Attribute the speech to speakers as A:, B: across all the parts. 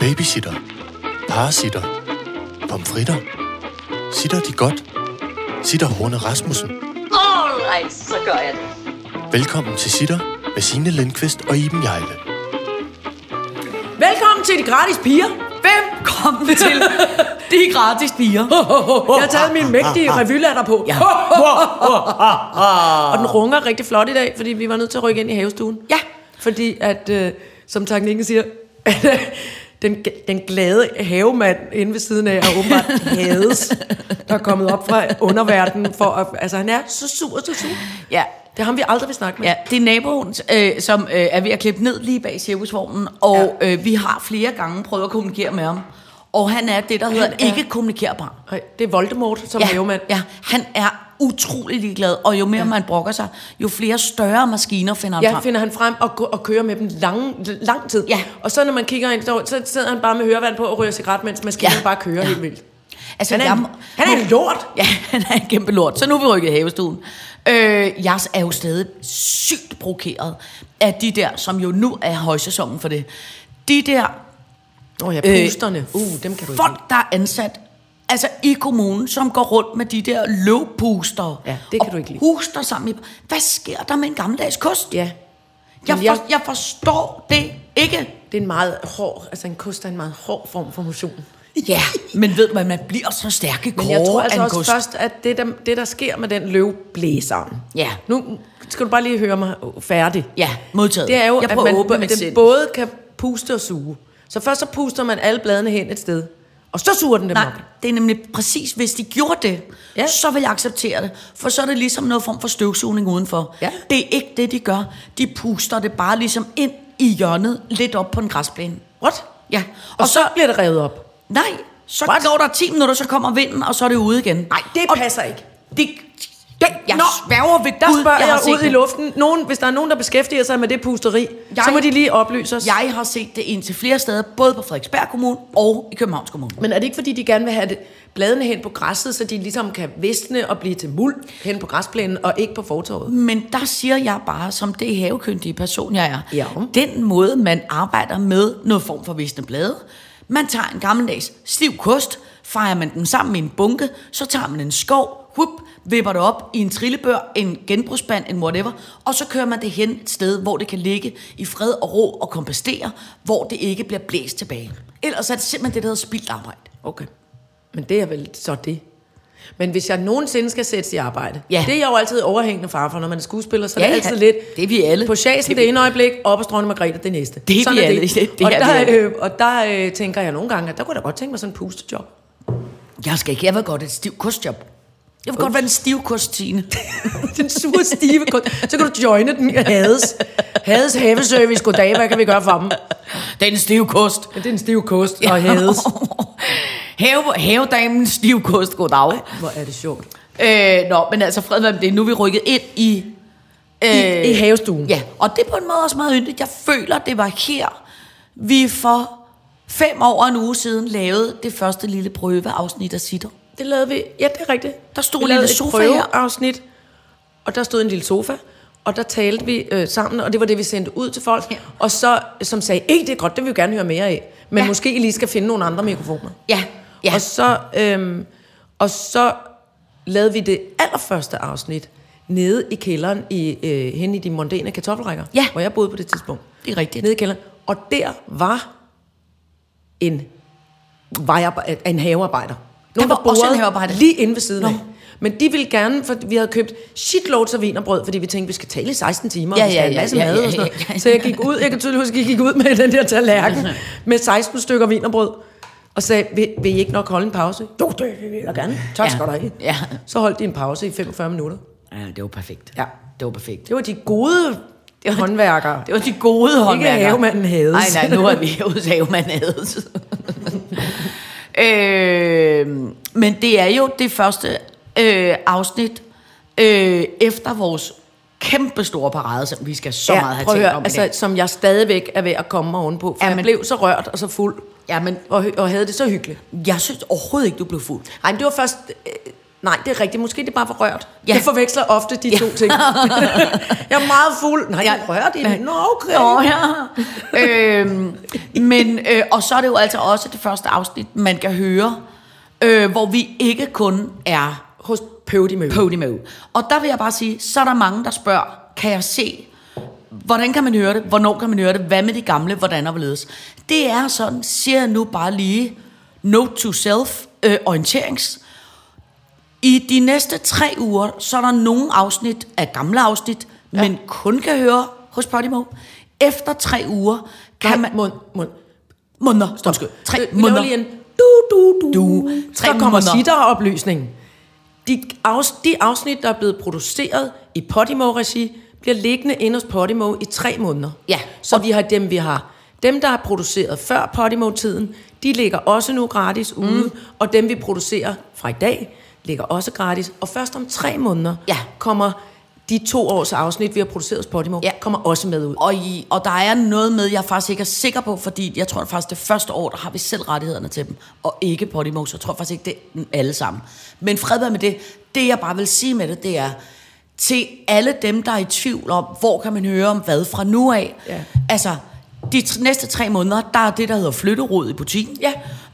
A: Babysitter. Parasitter. Pomfritter. Sitter de godt? Sitter Horne Rasmussen.
B: Alright, så gør jeg det.
A: Velkommen til Sitter med Signe Lindqvist og Iben Jejle.
C: Velkommen til de gratis piger.
D: Velkommen til de gratis piger.
C: Jeg har taget min mægtige revylatter på.
D: Ja.
C: Ah, Og den runger rigtig flot i dag, fordi vi var nødt til at rykke ind i havestuen.
D: Ja.
C: Fordi at, øh, som teknikken siger, at, øh, den, den glade havemand inde ved siden af, har åbenbart hades, der er kommet op fra underverdenen. For at, altså, han er så sur, så sur.
D: Ja.
C: Det er ham, vi aldrig vil snakke med.
D: Ja, det er naboen, øh, som øh, er ved at klippe ned lige bag cirkusvognen, og ja. øh, vi har flere gange prøvet at kommunikere med ham. Og han er det, der hedder
C: er-
D: ikke kommunikerbar.
C: Nej, Det er Voldemort som ja. havemand.
D: ja, han er utrolig ligeglad, og jo mere ja. man brokker sig, jo flere større maskiner finder han
C: Ja,
D: frem.
C: finder han frem og, gå- og kører med dem lang, lang tid.
D: Ja.
C: Og så når man kigger ind, så, så sidder han bare med hørevand på og ryger cigaret, mens maskinen
D: Ja.
C: ja. bare kører
D: Ja.
C: ja. helt vildt.
D: altså,
C: han er
D: jeg
C: en-
D: må-
C: han er en lort.
D: Ja, han er en kæmpe lort. Så nu er vi rykket i havestuen. Øh, jeg er jo stadig sygt provokeret af de der, som jo nu er højsæsonen for det. De der
C: Åh oh, ja, pusterne. Øh, uh, dem kan du ikke lide.
D: folk, der er ansat altså i kommunen, som går rundt med de der løvpuster.
C: Ja, det kan
D: og
C: du ikke lide.
D: Puster sammen i, Hvad sker der med en gammeldags kost?
C: Ja,
D: jeg,
C: men jeg-
D: for, jeg forstår det ikke.
C: det er en meget hård, altså en kost er en meget hård form for motion.
D: Ja, men ved man, man bliver så stærk i
C: Men jeg tror
D: kroge
C: altså
D: af en
C: også
D: kost.
C: først, at det der, det, der sker med den løvblæser,
D: Ja.
C: nu skal du bare lige høre mig færdig.
D: Ja, modtaget.
C: Det er jo,
D: jeg
C: at
D: prøver
C: man,
D: at åbne
C: at
D: mit
C: den
D: sind.
C: både kan puste og suge. Så først så puster man alle bladene hen et sted, og så suger den dem
D: Nej,
C: op.
D: det er nemlig præcis, hvis de gjorde det, ja.
C: Ja.
D: så vil jeg acceptere det. For så er det ligesom noget form for støvsugning udenfor.
C: Ja.
D: Det er ikke det, de gør. De puster det bare ligesom ind i hjørnet, lidt op på en græsplæne.
C: What?
D: Ja,
C: Og, og så, så bliver det revet op.
D: Nej, så What? går der 10 minutter, så kommer vinden, og så er det ude igen. Nej,
C: det
D: og
C: passer ikke.
D: Det, det, jeg
C: Nå,
D: sværger ved
C: Der
D: Gud,
C: spørger
D: jeg
C: jeg,
D: har set
C: ud i
D: det.
C: luften. Nogen, hvis der er nogen, der beskæftiger sig med det pusteri, jeg, så
D: Jeg-
C: må de lige oplyse os.
D: Jeg har set det indtil flere steder, både på Frederiksberg Kommune og i Københavns Kommune.
C: Men er det ikke, fordi de gerne vil have det, bladene hen på græsset, så de ligesom kan visne og blive til muld hen på græsplænen, og ikke på fortorvet?
D: Men der siger jeg bare, som det havekyndige person, jeg er,
C: Ja.
D: den måde, man arbejder med noget form for visne blade, man tager en gammeldags stiv kost, fejrer man den sammen i en bunke, så tager man en skov, whoop, vipper det op i en trillebør, en genbrugsband, en whatever, og så kører man det hen et sted, hvor det kan ligge i fred og ro og kompastere, hvor det ikke bliver blæst tilbage. Ellers er det simpelthen det, der hedder spildt arbejde.
C: Okay. Men det er vel så det. Men hvis jeg nogensinde skal sættes i arbejde,
D: Ja.
C: det er jeg jo altid overhængende far for, når man er skuespiller, så
D: Ja,
C: er det
D: ja.
C: altid lidt...
D: Det er vi alle.
C: På chasen det, ene øjeblik, op og strående Margrethe det næste.
D: Det er vi alle.
C: Det.
D: Det- det
C: og,
D: er
C: der,
D: vi alle.
C: øh, og der øh, tænker jeg nogle gange, at der kunne jeg da godt tænke mig sådan en pustejob.
D: Jeg skal ikke, jeg vil godt et stiv kostjob. Jeg vil godt være den stive kosttine.
C: den sure stive kun. Så kan du joine den Hades. Hades haveservice. Goddag, hvad kan vi gøre for dem?
D: Den stive kost.
C: Ja, det er en stiv kost og Hades.
D: Have, havedamen stiv kost, goddag.
C: Hvor er det sjovt.
D: Øh, nå, men altså fred være med det. Nu er vi rykket ind i...
C: I, i havestuen.
D: Ja, og det er på en måde også meget yndigt. Jeg føler, det var her, vi for fem år og en uge siden lavede det første lille prøveafsnit af Sitter.
C: Det lavede vi. Ja, det er rigtigt.
D: Der stod
C: Vi
D: en
C: lavede
D: lille
C: et
D: sofa her.
C: prøveafsnit, og der stod en lille sofa, og der talte vi øh, sammen, og det var det, vi sendte ud til folk.
D: Ja.
C: Og så, som sagde, ikke det er godt, det vil vi gerne høre mere af. Men
D: Ja.
C: ja. måske I lige skal finde nogle andre mikrofoner.
D: Ja, ja.
C: Og så, øhm, og så lavede vi det allerførste afsnit nede i kælderen i, øh, hen i de mondæne kartoffelrækker,
D: Ja.
C: hvor jeg boede på det tidspunkt.
D: Det er rigtigt.
C: Nede i kælderen. Og der var en, vejarbej- en havearbejder. Nogen,
D: var også en
C: borede
D: havearbejder.
C: Lige inde ved siden
D: Nå.
C: af. Men de ville gerne, for vi havde købt shitloads af vinerbrød, fordi vi tænkte, vi skal tale i 16 timer,
D: Ja,
C: og vi skal
D: ja,
C: have en
D: ja,
C: masse
D: ja,
C: mad
D: ja,
C: og sådan
D: ja, ja.
C: noget. Så jeg gik ud, jeg kan tydeligt huske, at jeg gik ud med den der tallerken med 16 stykker vinerbrød, og sagde, vil, vil I ikke nok holde en pause? Jo, det vil jeg gerne. Tak
D: Ja.
C: skal du have.
D: Ja.
C: Så holdt de en pause i 45 minutter.
D: Ja, det var perfekt.
C: Ja.
D: Det var perfekt.
C: Det var de gode
D: Det var-
C: håndværkere.
D: Det var de gode håndværkere.
C: havemanden Hades.
D: Nej, nej, nu er vi hos havemanden Hades. øh, men det er jo det første øh, afsnit øh, efter vores kæmpe store parade, som vi skal så ja, meget have
C: prøv at
D: tænkt
C: høre,
D: om altså,
C: altså, som jeg stadigvæk er ved at komme mig ovenpå. For
D: Ja,
C: ja, men,
D: men-
C: jeg blev så rørt og så fuld,
D: Ja, men
C: og, hø- og havde det så hyggeligt.
D: jeg synes overhovedet ikke, du blev fuld.
C: Ej, men det var først øh, Nej, det er rigtigt. Måske det er bare for rørt.
D: Ja.
C: Ja. Jeg forveksler ofte de ja. to ting. jeg er meget fuld. Nej, jeg er rørt i det. Nå, okay.
D: Nå, ja. øhm, men, øh, og så er det jo altså også det første afsnit, man kan høre, øh, hvor vi ikke kun er
C: Hos Pøvdimø.
D: Podimo. Og der vil jeg bare sige, så er der mange, der spørger, kan jeg se, hvordan kan man høre det, hvornår kan man høre det, hvad med de gamle, hvordan og hvorledes. Det er sådan, siger jeg nu bare lige, note to self, øh, orienterings. I de næste tre uger, så er der nogle afsnit af gamle afsnit, ja. men kun kan høre hos Podimo. Efter tre uger kan man...
C: Mund, mund.
D: Måneder. Stop.
C: Øh, Vi
D: Tre
C: laver
D: måneder.
C: lige en du, du, du.
D: Du. Tre
C: Så kommer
D: måneder.
C: sitteroplysningen. De, afs, de afsnit, der er blevet produceret i Podimo-regi, bliver liggende inde hos Podimo i tre måneder.
D: Ja.
C: Så vi har dem, vi har. Dem, der er produceret før Podimo-tiden, de ligger også nu gratis ude. Mm. Og dem, vi producerer fra i dag, ligger også gratis. Og først om tre måneder
D: Ja.
C: kommer de to års afsnit, vi har produceret hos Podimo,
D: Ja.
C: kommer også med ud.
D: og, i, og der er noget med, jeg faktisk ikke er sikker på, fordi jeg tror faktisk, det første år, der har vi selv rettighederne til dem, og ikke Podimo, så jeg tror faktisk ikke, det er alle sammen. Men fred være med det. Det, jeg bare vil sige med det, det er, til alle dem, der er i tvivl om, hvor kan man høre om hvad fra nu af.
C: Ja.
D: Altså, de t- næste tre måneder, der er det, der hedder flytterod i butikken.
C: Ja.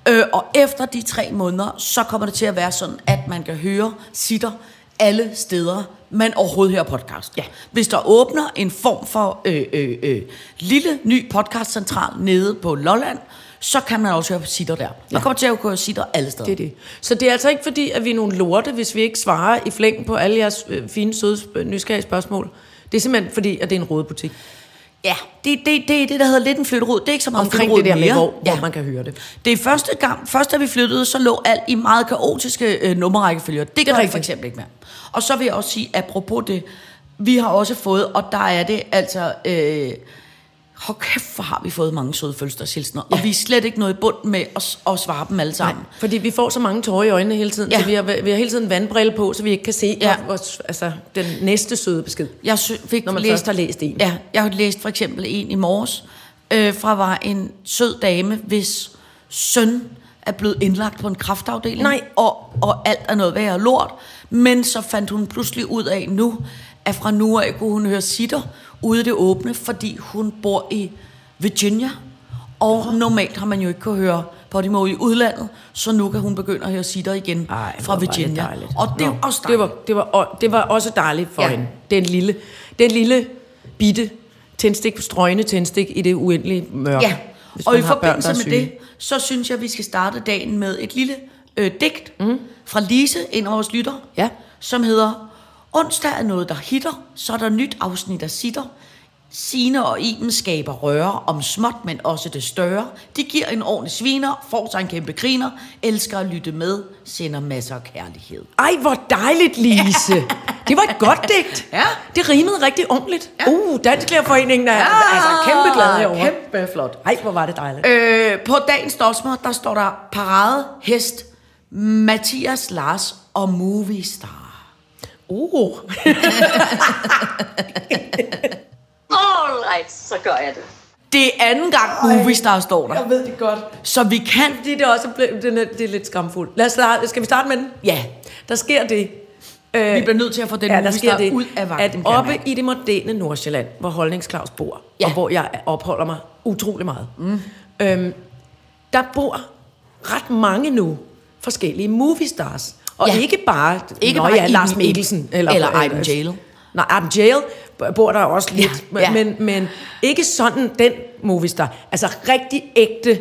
D: Øh, og efter de tre måneder, så kommer det til at være sådan, at man kan høre sitter alle steder, man overhovedet hører podcast.
C: Ja.
D: Hvis der åbner en form for øh, øh, øh, lille ny podcastcentral nede på Lolland, så kan man også høre sitter der. Man ja. kommer til at kunne høre sitter alle steder.
C: Det er det. Så det er altså ikke fordi, at vi er nogle lorte, hvis vi ikke svarer i flæng på alle jeres øh, fine, søde, sp- nysgerrige spørgsmål. Det er simpelthen fordi, at det er en rodebutik.
D: Ja, det, det, det er det, der hedder lidt en flytterod. Det er ikke så meget en
C: Omkring
D: flytterod
C: det der med,
D: mere.
C: hvor, ja. hvor man kan høre det.
D: Det er første gang, først da vi flyttede, så lå alt i meget kaotiske øh, nummerrækkefølger. Det gør det for
C: rigtigt.
D: eksempel ikke mere. Og så vil jeg også sige, apropos det, vi har også fået, og der er det altså... Øh, Hvor kæft, hvor har vi fået mange søde fødselsdagshilsener, ja. og vi er slet ikke nået i bund med at, s- at svare dem alle sammen. Nej.
C: Fordi vi får så mange tårer i øjnene hele tiden,
D: Ja.
C: ja. så vi har, vi har hele tiden vandbrille på, så vi ikke kan se
D: Ja.
C: ja. vores, altså, den næste søde besked.
D: Jeg sy- fik
C: Når man
D: læst,
C: først har læst en.
D: Ja, jeg har læst for eksempel en i morges, øh, fra var en sød dame, hvis søn er blevet indlagt på en kraftafdeling.
C: Nej.
D: Og, og alt er noget værre lort. Men så fandt hun pludselig ud af nu, at fra nu af kunne hun høre sitter ude i det åbne, fordi hun bor i Virginia. Og normalt har man jo ikke kunne høre på de måde i udlandet, så nu kan hun begynde at høre sitter igen
C: Ej,
D: fra
C: hvor var det
D: Virginia.
C: dejligt.
D: og det er
C: Nå,
D: jo også
C: det
D: dejligt.
C: var, det, var, og- det var også dejligt for
D: Ja.
C: ja. hende. Den lille, den lille bitte tændstik, strøgne tændstik i det uendelige mørke.
D: Ja,
C: hvis
D: og
C: man
D: i
C: har børn, der
D: forbindelse
C: er
D: med
C: syge.
D: det, så synes jeg, vi skal starte dagen med et lille øh, digt mm. fra Lise, en af vores lytter,
C: Ja.
D: som hedder Onsdag er noget, der hitter, så er der nyt afsnit, der sitter. Sine og Iben skaber røre om småt, men også det større. De giver en ordentlig sviner, får sig en kæmpe griner, elsker at lytte med, sender masser af kærlighed.
C: Ej, hvor dejligt, Lise. Det var et godt digt.
D: Ja.
C: Det rimede rigtig ordentligt. Ja. Uh, Dansklæderforeningen er ja. altså kæmpe glad herovre.
D: Kæmpe flot.
C: Ej, hvor var det dejligt.
D: Øh, på dagens dosmer, der står der parade, hest, Mathias, Lars og movie star.
C: Uh.
B: All right, så gør jeg det.
D: Det er anden gang movie star står der.
C: ved det godt.
D: Så vi kan...
C: Fordi det er også blevet, den er, det er lidt skamfuldt. Lad os starte, skal vi starte med den?
D: Ja,
C: Der sker det,
D: vi bliver nødt til at få den
C: ja, der
D: movie
C: sker
D: star
C: det
D: ud af
C: at
D: vagten. kan jeg
C: oppe
D: mærke.
C: i det moderne Nordsjælland, hvor holdningsklaus bor,
D: Ja.
C: ja. og hvor jeg opholder mig utrolig meget, mm. øhm, der bor ret mange nu forskellige movie stars. Og
D: Ja.
C: ja. ikke bare,
D: Ikke
C: ikke Nå,
D: bare
C: bare ja,
D: Iben-
C: Lars Mikkelsen. øh,
D: eller Iben Jail.
C: Nej, Iben Jail bor der også lidt.
D: Ja, ja.
C: Ja. Men, men ikke sådan den movie star. Altså rigtig ægte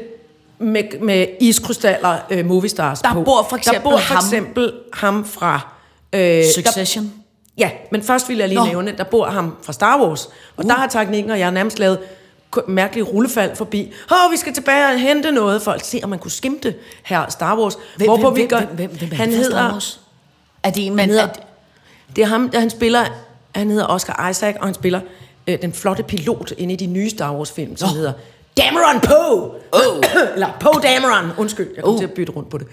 C: med, med iskrystaller øh, movie stars
D: Der
C: på.
D: bor for eksempel
C: der bor for
D: ham.
C: eksempel ham, ham fra... Øh,
D: Succession.
C: Ja, men først vil jeg lige
D: Nå.
C: Nå. nævne, der bor ham fra Star Wars, og uh. der har teknikken, og jeg har nærmest lavet k- mærkelige rullefald forbi. Åh, vi skal tilbage og hente noget. Folk se, om man kunne skimte her Star Wars.
D: Hvem-
C: Hvorpå
D: hvem-
C: vi gør...
D: hvem- hvem- hvem er
C: han
D: det fra Star
C: hedder...
D: Wars? Er det en mand?
C: hedder-
D: er det-
C: Det er ham, der han spiller... Han hedder Oscar Isaac, og han spiller øh, den flotte pilot inde i de nye Star Wars-film, som
D: Nå.
C: oh. hedder Dameron Poe!
D: Åh.
C: Eller Poe Dameron, undskyld, jeg kom
D: Oh.
C: oh. til at bytte rundt på det.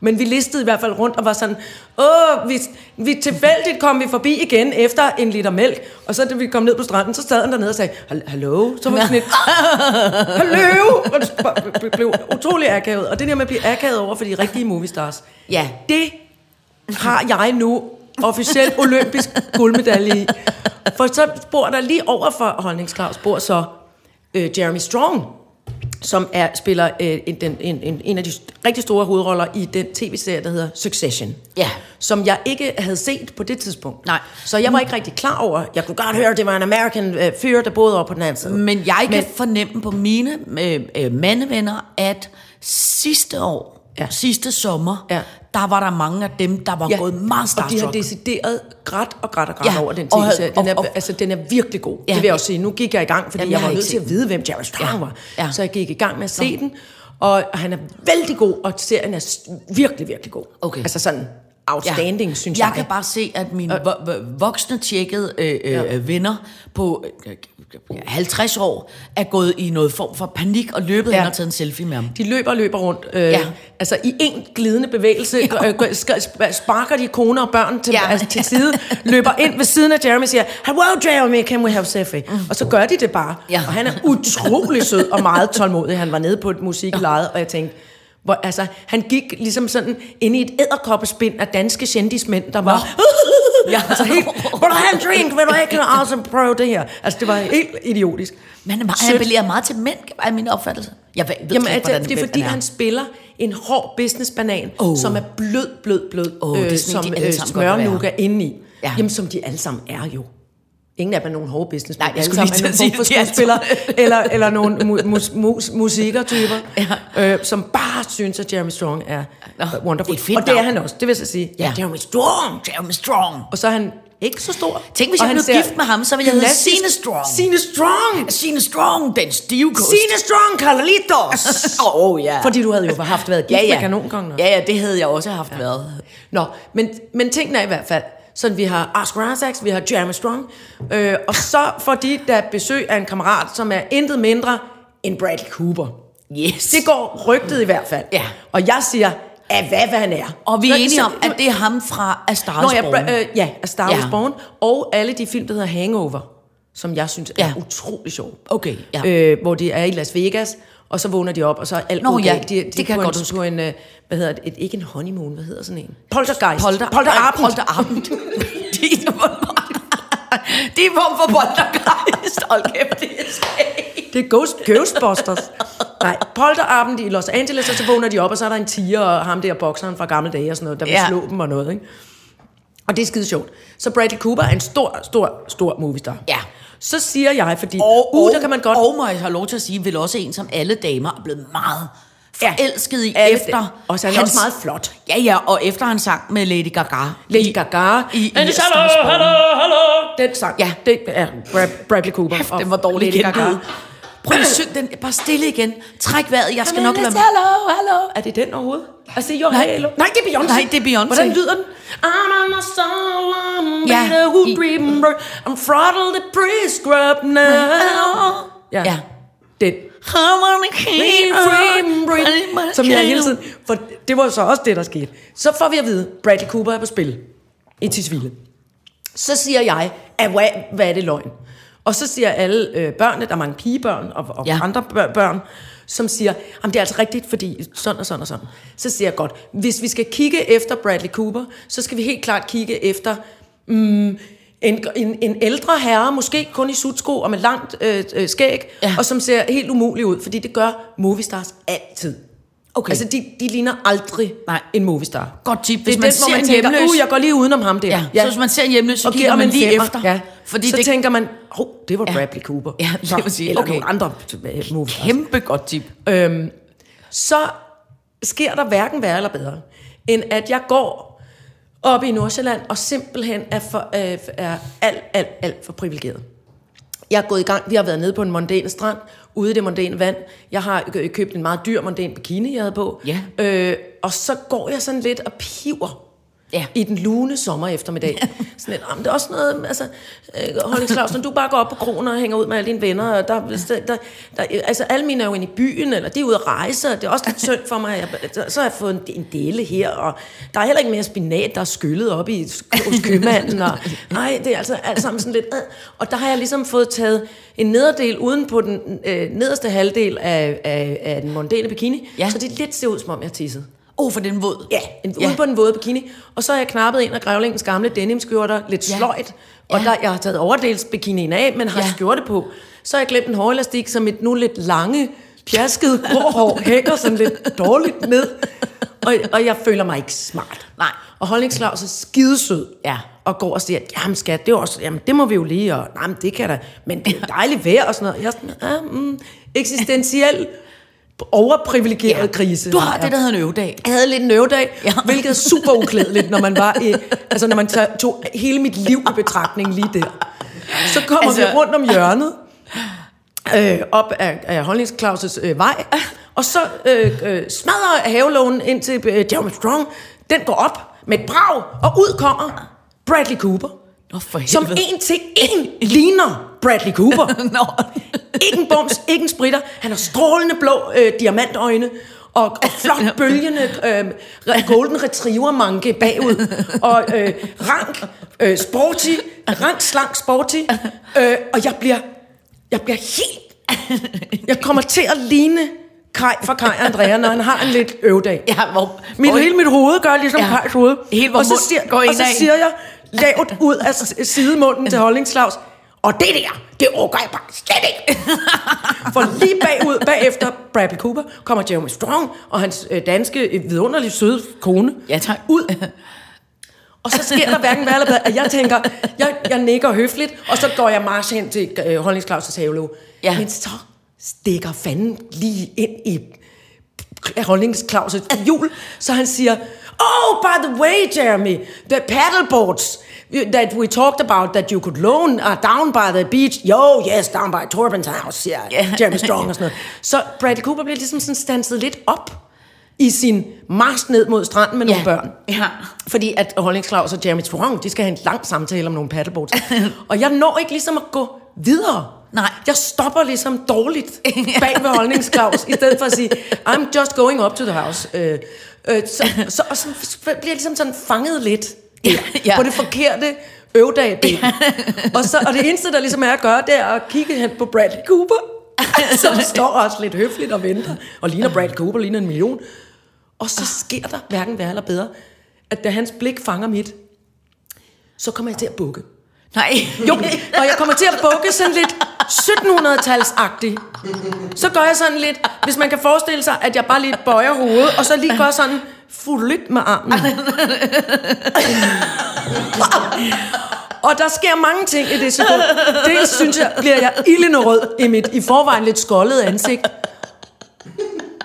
C: Men vi listede i hvert fald rundt og var sådan, åh, vi, vi tilfældigt kom vi forbi igen efter en liter mælk, og så da vi kom ned på stranden, så sad han dernede og sagde, "Hal- hallo, så var vi sådan lidt, hallo, og det b- b- blev utrolig akavet. Og det der med at blive akavet over for de rigtige movie stars,
D: Ja.
C: det har jeg nu officielt olympisk guldmedalje i? For så bor der lige over for Holnings Claus, bor så øh, Jeremy Strong, som er, spiller øh, en, den- en, en, en af de rigtig store hovedroller i den tv-serie, der hedder Succession.
D: Ja.
C: Som jeg ikke havde set på det tidspunkt.
D: Nej.
C: Så jeg var ikke rigtig klar over, jeg kunne godt høre, det var en American øh, fyr, der boede over på den anden side.
D: Men jeg kan men, fornemme på mine øh, øh, mandevenner, at sidste år,
C: Ja.
D: ja. sidste sommer,
C: Ja.
D: ja. der var der mange af dem, der var ja. gået meget
C: og de har
D: starstruck.
C: decideret grædt og grædt og grædt ja,
D: Ja,
C: over den
D: og-
C: tv-serie. Den,
D: og-
C: er,
D: og-
C: altså, den er virkelig god. Ja,
D: Ja.
C: det vil jeg også sige. Nu gik jeg i gang, fordi
D: Jamen,
C: jeg
D: jeg
C: var
D: har
C: nødt
D: ikke
C: til
D: set
C: at vide, hvem Jerry Strong
D: Ja,
C: var.
D: ja.
C: Så jeg gik i gang med at se den, og han er vældig god, og serien er s- virkelig, virkelig god.
D: Okay.
C: Altså sådan outstanding, synes jeg.
D: Jeg kan bare se, at mine vo- vo- voksne tjekkede øh, øh,
C: Ja.
D: venner på øh, øh, 50 år er gået i noget form for panik og løbet
C: Ja.
D: hen og taget en selfie med ham.
C: De løber og løber rundt. Øh, Mm. ja.
D: Ja.
C: Altså i en glidende bevægelse øh, gør- sk- sp- sparker de koner og børn til, ja.
D: Ja.
C: altså, til side, løber ind ved siden af Jeremy og siger, Hello Jeremy, can we have selfie? Mm. Og så gør de det bare. Ja.
D: Ja.
C: Og han er utrolig sød og meget tålmodig. Han var nede på et musikleje, og jeg tænkte, hvor, altså, han gik ligesom sådan ind i et æderkoppespind af danske kendismænd, der var... Ja. altså helt, vil du have en drink? Vil du ikke også prøve det her? Altså, det var helt idiotisk.
D: Men han, er meget, han
C: Sødt.
D: appellerer meget til mænd, er min opfattelse. Jeg ved, ved
C: Jamen,
D: slet ikke,
C: altså,
D: hvordan
C: det er
D: mænd
C: fordi,
D: er.
C: han spiller en hård businessbanan, oh.
D: Åh.
C: som er blød, blød, blød, øh,
D: Åh, det er sådan,
C: som
D: de alle sammen godt vil være.
C: smørnukker inde i. Ja.
D: Ja.
C: Jamen, som de alle sammen er jo. Ingen af dem er nogen hårde business.
D: Nej, jeg skulle lige til at sige, de er altså-
C: skuespillere, eller, eller nogle mu- mus, mus, musikertyper, ja. øh, som bare synes, at Jeremy Strong er
D: Nå,
C: wonderful.
D: det er et fedt
C: og det er
D: navn.
C: han også, det vil jeg så sige.
D: Ja.
C: Jeremy Strong!
D: Jeremy Strong.
C: Og så er han ikke så stor.
D: Tænk, hvis
C: og
D: jeg
C: han
D: blev
C: ser
D: gift med ham, så ville jeg hedde
C: gymnastisk-
D: Sine Strong.
C: Sine Strong!
D: Sine Strong, den stive kost.
C: Sine Strong, Carlitos!
D: Åh, oh, ja.
C: Fordi du havde jo haft været gift
D: ja, ja.
C: med kanonkongen. også.
D: Ja, ja, det havde jeg også haft ja. været.
C: Nå, men, men tingene er i hvert fald, sådan vi har Oscar Isaacs, vi har Jeremy Strong, øh, og så får de der besøg af en kammerat, som er intet mindre end Bradley Cooper.
D: Yes.
C: Det går rygtet i hvert fald.
D: Ja.
C: Og jeg siger, at hvad, hvad han er.
D: Og vi er
C: Nå,
D: enige
C: så-
D: om, at det er ham fra A Star
C: Nå,
D: Is
C: ja,
D: Born.
C: Bra- øh, ja, A Star Wars
D: Ja.
C: Born, og alle de film, der hedder Hangover, som jeg synes er
D: Ja.
C: utrolig sjov.
D: Okay, ja.
C: Øh, hvor de er i Las Vegas, og så vågner de op, og så er alt
D: Nå,
C: gået
D: ja,
C: galt. De, de
D: det
C: er på
D: kan jeg
C: en,
D: godt huske.
C: På en, øh, hvad hedder det, et, ikke en honeymoon, hvad hedder sådan en? Poltergeist.
D: Polter,
C: Polterabend.
D: Polterabend. det er en form- det er en form for poltergeist. Hold kæft, det er skægt.
C: Det er Ghost, Ghostbusters. Nej, polterabend i Los Angeles, og så vågner de op, og så er der en tiger, og ham der bokseren fra gamle dage og sådan noget, der vil ja.
D: Ja.
C: slå dem og noget, ikke? Og det er skide sjovt. Så Bradley Cooper er en stor, stor, stor moviestar.
D: Ja.
C: Så siger jeg, fordi, og, uh, der kan man godt...
D: Og må jeg have lov til at sige, vel også en, som alle damer er blevet meget
C: Ja.
D: forelsket i
C: Alle da-
D: efter.
C: Og så er han også meget flot.
D: Ja, ja, og efter han sang med Lady Gaga.
C: Lady Gaga.
D: I, i,
C: And it's
D: i A Star
C: hello,
D: Is Born.
C: Den sang, ja,
D: Ja.
C: det er Brad- Bradley Cooper.
D: Kæft,
C: og
D: den var dårlig
C: Lady Gaga.
D: gengivet. Prøv lige at synge den bare stille igen. Træk vejret, jeg skal
C: Men
D: nok
C: it's
D: lade mig.
C: hello, hello. Er det den overhovedet? Altså, your
D: Nej.
C: halo. Nej, det er Beyoncé.
D: Nej, det er Beyoncé.
C: Hvordan lyder den? I'm on a solemn
D: Ja,
C: bitter who
D: i-
C: remember I'm throttled the pre-scrub now. Ja.
D: Ja.
C: Den. Ah, Som jeg hele tiden... For det var jo så også det, der skete. Så får vi at vide, Bradley Cooper er på spil. I Tisvilde. Så siger jeg, at hvad, hvad er det løgn? Og så siger alle øh, børnene, der er mange pigebørn og, og ja.
D: Ja.
C: andre bør- børn, som siger, at det er altså rigtigt, fordi sådan og sådan og sådan. Så siger jeg godt, hvis vi skal kigge efter Bradley Cooper, så skal vi helt klart kigge efter en, en, en ældre herre, måske kun i sutsko og med langt øh, øh, skæg, ja.
D: Ja.
C: og som ser helt umulig ud, fordi det gør moviestars altid. Okay.
D: Okay.
C: Altså, de, de ligner aldrig
D: Nej.
C: en moviestar.
D: Godt tip.
C: Hvis det er man den, hvor man tænker,
D: hjemløs-
C: uh, jeg går lige udenom ham der.
D: Ja. Så hvis man ser en hjemløs, så
C: Og
D: kigger
C: giver
D: man
C: en
D: lige
C: femmer.
D: efter.
C: Ja. Fordi
D: Fordi
C: så det...
D: det-
C: tænker man, oh, det var
D: Ja.
C: Bradley Cooper.
D: Ja, det
C: Så-
D: vil sige,
C: Eller
D: okay.
C: nogle andre øh, moviestars
D: Kæmpe godt tip.
C: så sker der hverken værre eller bedre, end at jeg går op i Nordsjælland og simpelthen er, for, øh, er alt, alt, alt for privilegeret. Jeg er gået i gang, vi har været nede på en mondæne strand, ude i det mondæne vand. Jeg har kø- købt en meget dyr mondæn bikini, jeg havde på.
D: Ja.
C: Øh, og så går jeg sådan lidt og piver
D: Ja.
C: i den lune sommer eftermiddag. Sådan lidt, "Ah, men det er også noget, altså, øh, Holding Claus, når du bare går op på krogen og hænger ud med alle dine venner, og der, der, der, der, altså alle mine er jo inde i byen, eller de er ude at rejse, og det er også lidt synd for mig, at jeg, så har jeg fået en, en dele her, og der er heller ikke mere spinat, der er skyllet op i sk- hos købmanden, og nej, det er altså alt sammen sådan lidt, øh. og der har jeg ligesom fået taget en nederdel uden på den øh, nederste halvdel af, af, af den mondæne bikini, ja.
D: Ja.
C: så det lidt ser ud, som om jeg har tisset.
D: oh, for den våd.
C: Ja, en, ja. ude på en våde bikini. Og så har jeg knappet en af grævlingens gamle denimskjorter, lidt
D: Ja.
C: ja. sløjt. Og
D: Ja.
C: ja. der, jeg har taget overdels bikinien af, men har
D: Ja.
C: ja. skjorte på. Så har jeg glemt en hårelastik, som et nu lidt lange, pjasket gråhår hænger sådan lidt dårligt ned. Og, og jeg føler mig ikke smart.
D: Nej.
C: Og holdningsklaus er skidesød.
D: Ja.
C: Og går og siger, jamen skat, det, er også, jamen, det må vi jo lige, og nej, men det kan da, men det er jo dejligt vejr og sådan noget. Jeg er sådan, ja, mm, eksistentiel, overprivilegeret ja. krise.
D: Du har
C: jeg.
D: det, der hedder en øvedag.
C: Jeg havde lidt en øvedag,
D: Ja.
C: ja. hvilket er super uklædeligt, når man var i, altså når man tager- tog hele mit liv i betragtning lige der. Så kommer altså... vi
D: Altså-
C: rundt om hjørnet, øh, op af, af holdningsklauses øh, vej, og så øh, øh, smadrer havelånen ind til øh, Jeremy Strong. Den går op med et brag, og ud kommer Bradley Cooper,
D: Nå, for
C: som
D: helvede.
C: en til en ligner Bradley Cooper.
D: Nå.
C: Ikke en bums, ikke en spritter. Han har strålende blå øh, diamantøjne og, og flot bølgende øh, re- golden retriever manke bagud. Og øh, rank, øh, sporty, rank, slank, sporty. Øh, og jeg bliver, jeg bliver helt... Jeg kommer til at ligne Kaj fra Kaj og Andrea, når han har en lidt øvdag.
D: Ja, hvor...
C: Min,
D: hvor-
C: hele mit hoved gør ligesom
D: Ja.
C: ja. Kajs hoved.
D: Helt, hvor
C: og så
D: munden
C: siger,
D: går
C: og så
D: indad.
C: siger jeg lavt ud af s- sidemunden til holdningslavs, og det der, det overgår jeg bare slet ikke. For lige bagud, bagefter Bradley Cooper, kommer Jeremy Strong og hans øh, danske øh, vidunderligt søde kone.
D: Ja, tak.
C: Ud. Og så sker der hverken hvad eller hvad, at jeg tænker, jeg, jeg nikker høfligt, og så går jeg march hen til øh, holdningsklausens havlov.
D: Ja.
C: Men så stikker fanden lige ind i holdningsklauset jul, så han siger, Oh, by the way, Jeremy, the paddleboards that we talked about that you could loan are down by the beach. Yo, yes, down by Torben's house, siger
D: Ja.
C: yeah. Jeremy Strong og sådan noget. Så Bradley Cooper bliver ligesom sådan stanset lidt op i sin march ned mod stranden med nogle
D: Ja.
C: børn.
D: Ja.
C: Fordi at Holdingsklaus og Jeremy Strong, de skal have en lang samtale om nogle paddleboards. og jeg når ikke ligesom at gå videre.
D: Nej.
C: Jeg stopper ligesom dårligt bag ved Holdingsklaus, i stedet for at sige, I'm just going up to the house. Øh, øh, så, så, og så bliver jeg ligesom sådan fanget lidt der,
D: ja.
C: på det forkerte øvdag og, så, og det eneste, der ligesom er at gøre, det er at kigge hen på Bradley Cooper, som står også lidt høfligt og venter, og ligner Bradley Cooper, ligner en million. Og så sker der hverken værre eller bedre, at da hans blik fanger mit, så kommer jeg til at bukke.
D: Nej.
C: Jo, og jeg kommer til at bukke sådan lidt 1700-talsagtig. Så gør jeg sådan lidt, hvis man kan forestille sig, at jeg bare lige bøjer hovedet, og så lige gør sådan fuldt med armen. Og der sker mange ting i det sekund. Det synes jeg, bliver jeg ildende rød i mit i forvejen lidt skoldet ansigt.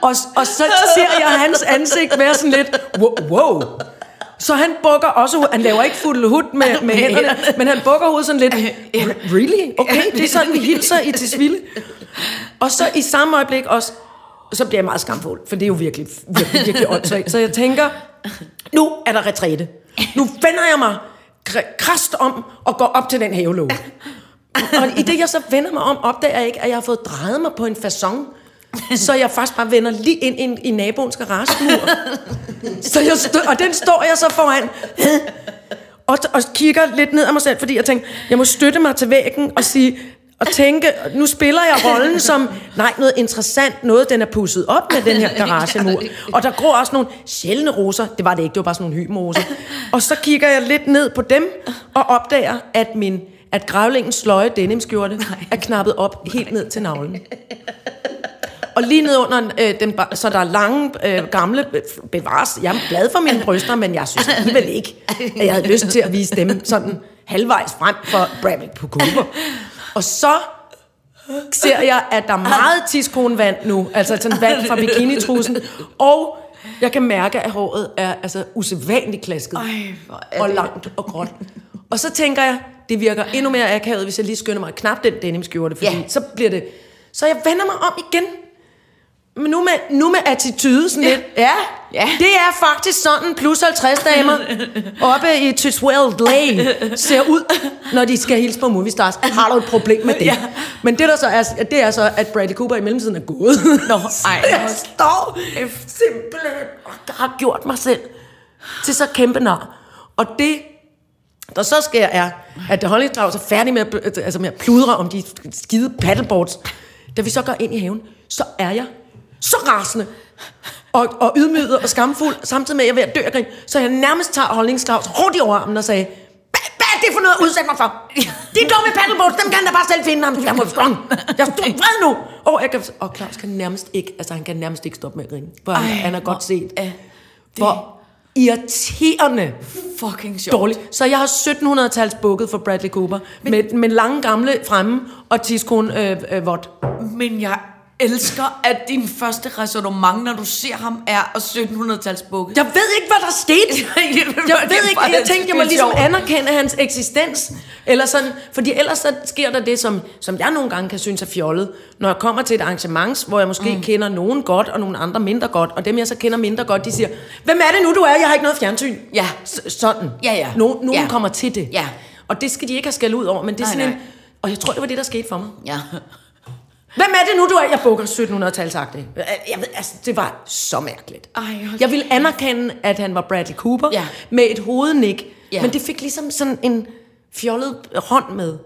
C: Og, og så ser jeg hans ansigt være sådan lidt, wow, wow. Så han bukker også hovedet. Han laver ikke fuld hud med, med hænderne, men han bukker hovedet sådan lidt, "Re- really? Okay, det er sådan, vi hilser i Tisvilde. Og så i samme øjeblik også, så bliver jeg meget skamfuld, for det er jo virkelig, virkelig, virkelig åndssvagt. Så jeg tænker, nu er der retræte. Nu vender jeg mig kr- krast om og går op til den havelåge. Og i det, jeg så vender mig om, opdager jeg ikke, at jeg har fået drejet mig på en façon, så jeg faktisk bare vender lige ind, ind i naboens garagemur. Så jeg stø- og den står jeg så foran, og, og kigger lidt ned af mig selv, fordi jeg tænker, jeg må støtte mig til væggen og sige, og tænke, nu spiller jeg rollen som, nej, noget interessant, noget, den er pusset op med den her garagemur. Og der gror også nogle sjældne roser. Det var det ikke, det var bare sådan nogle hymoser. Og så kigger jeg lidt ned på dem, og opdager, at min at grævlingens sløje denimskjorte er knappet op helt ned til navlen. Og lige ned under øh, den, ba- så der er lange, øh, gamle, øh, bevares. Jeg er glad for mine bryster, men jeg synes alligevel ikke, at jeg havde lyst til at vise dem sådan halvvejs frem for Bradley på Cooper. Og så ser jeg, at der er meget tiskonvand nu, altså sådan vand fra bikinitrussen, og jeg kan mærke, at håret er altså usædvanligt klasket
D: hvor er
C: og
D: det-
C: langt og gråt. Og så tænker jeg, det virker endnu mere akavet, hvis jeg lige skynder mig at knappe den denimskjorte, fordi
D: Ja.
C: ja. så bliver det... Så jeg vender mig om igen. Men nu med, nu med attitude sådan lidt. Ja,
D: Ja.
C: det er faktisk sådan, plus 50 damer oppe i Tiswell Lane ser ud, når de skal hilse på movie stars. Har du et problem med det?
D: Ja.
C: Men det der så er, det er så, at Bradley Cooper i mellemtiden er gået. Nå,
D: ej.
C: Jeg står simpelthen og har gjort mig selv til så kæmpe nar. Og det, der så sker, er, at det holdningsdrag er færdig med at, bl- altså med at pludre om de skide paddleboards. Da vi så går ind i haven, så er jeg så rasende. og, og ydmyget og skamfuld, samtidig med, at jeg er ved at dø af grin, så jeg nærmest tager holdningsklaus rundt i overarmen og sagde, hvad hvad er det for noget at udsætte mig for? De dumme paddleboards, dem kan han da bare selv finde ham. Jeg må strong. Jeg er vred nu. Og, jeg kan, og Claus kan nærmest ikke, altså han kan nærmest ikke stoppe med at grine. For Ej,
D: Ej,
C: han har
D: hvor
C: godt set,
D: er det
C: hvor irriterende
D: Fucking sjovt.
C: dårligt. Så jeg har 1700-tals bukket for Bradley Cooper. med, med lange gamle fremme og tidskone øh, øh, vådt.
D: Men jeg elsker, at din første resonemang, når du ser ham, er 1700-tals bukke.
C: Jeg ved ikke, hvad der skete. Jeg ved ikke, jeg tænkte, jeg må ligesom anerkende hans eksistens. Eller sådan, fordi ellers så sker der det, som, som jeg nogle gange kan synes er fjollet. Når jeg kommer til et arrangement, hvor jeg måske mm. kender nogen godt, og nogle andre mindre godt, og dem jeg så kender mindre godt, de siger, hvem er det nu, du er? Jeg har ikke noget fjernsyn.
D: Ja.
C: S- sådan.
D: Ja, ja.
C: No, nogen
D: Ja.
C: kommer til det.
D: Ja.
C: Og det skal de ikke have skæld ud over, men det er
D: Nej,
C: nej, sådan
D: nej.
C: nej. en... Og jeg tror, det var det, der skete for mig.
D: Ja.
C: Hvem er det nu, du er? Jeg bukker 1700-talsagtigt. Jeg ved, altså, det var så mærkeligt.
D: Ej, hold
C: jeg ville anerkende, at han var Bradley Cooper
D: Ja.
C: med et hovednik,
D: Ja.
C: ja. men det fik ligesom sådan en fjollet hånd med.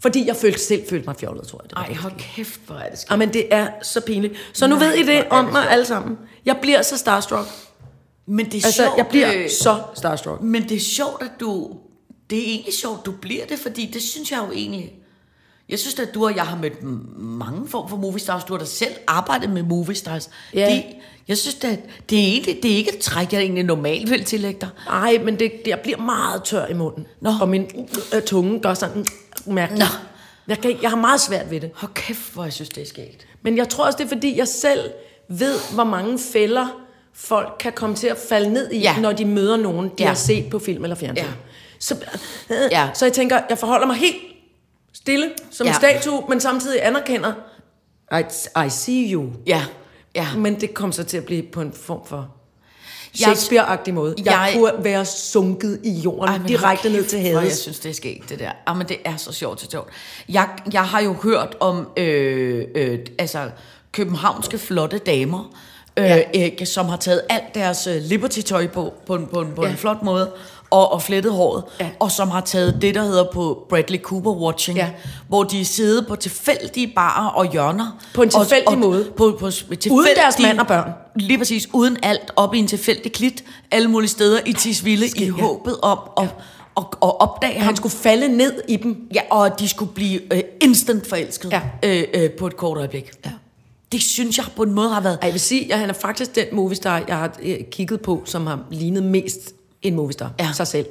C: Fordi jeg følte, selv følte mig fjollet, tror jeg. Det var.
D: Ej, hold kæft, hvor er det sk-
C: Ej, men det er så pinligt. Så nu ved I det om mig alle sammen. Jeg bliver så starstruck.
D: Men det er
C: Altså,
D: sjovt.
C: jeg bliver
D: øh,
C: så starstruck.
D: Men det er sjovt, at du... Det er egentlig sjovt, du bliver det, fordi det synes jeg jo egentlig... Jeg synes at du og jeg har mødt m- mange former for movie stars. Du har da selv arbejdet med movie stars.
C: Ja.
D: Det, jeg synes da, det er, egentlig, det er ikke et træk, jeg egentlig normalt vil tillægge dig.
C: Ej, men det, det, jeg bliver meget tør i munden.
D: Nå.
C: Og min øh, tunge gør sådan øh, mærkeligt.
D: Nå.
C: Jeg, kan, ikke- jeg har meget svært ved det.
D: Hold kæft, hvor jeg synes, det er skægt.
C: Men jeg tror også, det er fordi, jeg selv ved, hvor mange fælder folk kan komme til at falde ned i,
D: Ja.
C: ja. når de møder nogen, de
D: Ja.
C: ja. har set på film eller fjernsyn.
D: Ja.
C: Ja. Så,
D: Ja.
C: ja. så jeg tænker, jeg forholder mig helt stille som ja.
D: Ja.
C: en statue, men samtidig anerkender, I, I see you.
D: Ja, ja.
C: Men det kom så til at blive på en form for
D: Jeg-
C: Shakespeare-agtig måde. Jeg,
D: Jeg-
C: jeg kunne være sunket i jorden,
D: Ej, men
C: direkte
D: hold
C: ned
D: kæft,
C: til
D: hvor Jeg
C: hades.
D: synes, det er skægt, det der. Ej, men det er så sjovt til sjovt. Jeg, jeg har jo hørt om øh, øh, altså, københavnske flotte damer, øh, ja. øh, som har taget alt deres øh, Liberty-tøj på, på, en, på, en, på ja. en flot måde, og, og flettet håret, ja.
C: Ja.
D: og som har taget det, der hedder på Bradley Cooper Watching, ja.
C: Ja.
D: hvor de sidder på tilfældige barer og hjørner.
C: På en tilfældig
D: og, og,
C: måde.
D: På, på, tilfældige,
C: deres mand og børn.
D: Lige præcis, uden alt, op i en tilfældig klit, alle mulige steder i Tisvilde, i
C: ja.
D: håbet om at, at, at opdage
C: Han
D: ham.
C: skulle falde ned i dem.
D: Ja, og at de skulle blive øh, instant forelsket
C: Ja.
D: øh, øh, på et kort øjeblik. Ja. Det synes jeg på en måde har været...
C: Ej, jeg vil sige, at han er faktisk den movistar, jeg har øh, kigget på, som har lignet mest en movistar.
D: Ja.
C: Ja. Sig selv.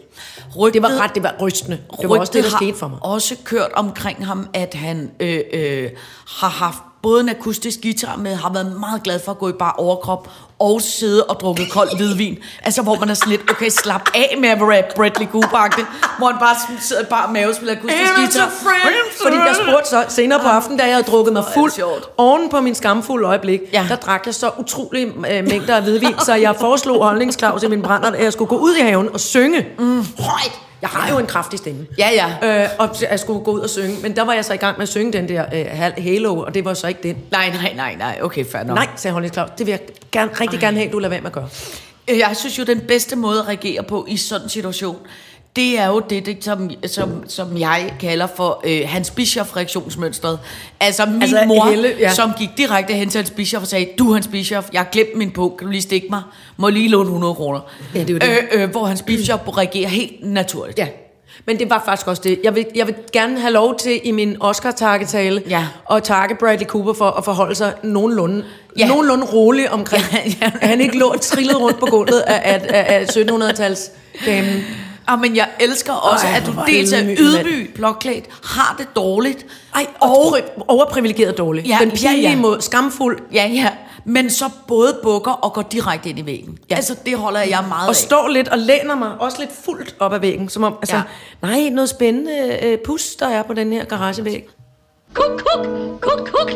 D: Rygtet-
C: det var ret, det var rystende. Det var også det, der
D: Rygtet har
C: skete for mig.
D: også kørt omkring ham, at han øh, øh, har haft både en akustisk guitar med, har været meget glad for at gå i bare overkrop, og sidde og drukke kold hvidvin. Altså, hvor man er sådan lidt, okay, slap af med at være Bradley cooper hvor han bare sådan sidder i bare mave og spiller akustisk
C: And I'm
D: guitar.
C: so friends. Fordi jeg spurgte så senere på aftenen, da jeg havde drukket mig
D: Hvor er det
C: fuld,
D: sjovt.
C: oven på min skamfulde øjeblik,
D: Ja.
C: ja. der drak jeg så utrolig øh, mængder af hvidvin, så jeg foreslog holdningsklaus i min brænder, at jeg skulle gå ud i haven og synge. Mm.
D: Højt!
C: Jeg har jo en kraftig stemme.
D: Ja, ja.
C: Øh, og jeg skulle gå ud og synge, men der var jeg så i gang med at synge den der øh, Hal- Halo, og det var så ikke den.
D: Nej, nej, nej, nej. Okay, fair nok.
C: Nej, sagde holdningsklaus, det vil jeg gerne, rigtig gerne have, at du lader være med at gøre.
D: Øh, Jeg synes jo, den bedste måde at reagere på i sådan en situation, det er jo det, det som, som, som jeg kalder for øh, Hans Bischoff-reaktionsmønstret. Altså min altså,
C: Altså,
D: mor, Helle,
C: Helle,
D: ja.
C: ja.
D: som gik direkte hen til Hans Bischoff og sagde, du Hans Bischoff, jeg har glemt min bog, kan du lige stikke mig? Må jeg lige låne 100 kroner.
C: Ja, det er jo det.
D: Øh, øh, hvor Hans Bischoff reagerer helt naturligt.
C: Ja. Men det var faktisk også det. Jeg vil, jeg vil gerne have lov til i min Oscar-takketale
D: Ja.
C: at takke Bradley Cooper for at forholde sig nogenlunde,
D: Ja.
C: ja. nogenlunde rolig omkring,
D: Ja,
C: ja,
D: ja.
C: ja. at han ikke lå og trillede rundt på gulvet af, af, af, af 1700-tals damen.
D: Ah, men jeg elsker også, Ej,
C: Ej,
D: at du
C: hvor er
D: dels
C: det
D: er
C: ydmyg,
D: ydmyg, blokklædt, har det dårligt.
C: Ej, og overprivilegeret dårlig.
D: Ja,
C: Den
D: ja,
C: pinlige
D: ja.
C: mod skamfuld.
D: Ja, ja. Men så både bukker og går direkte ind i væggen. Ja. Altså, det holder jeg meget
C: Og
D: af.
C: står lidt og læner mig også lidt fuldt op ad væggen, som om, altså,
D: Ja.
C: ja. nej, noget spændende øh, pus, der er på den her garagevæg.
B: Kuk, kuk, kuk, kuk.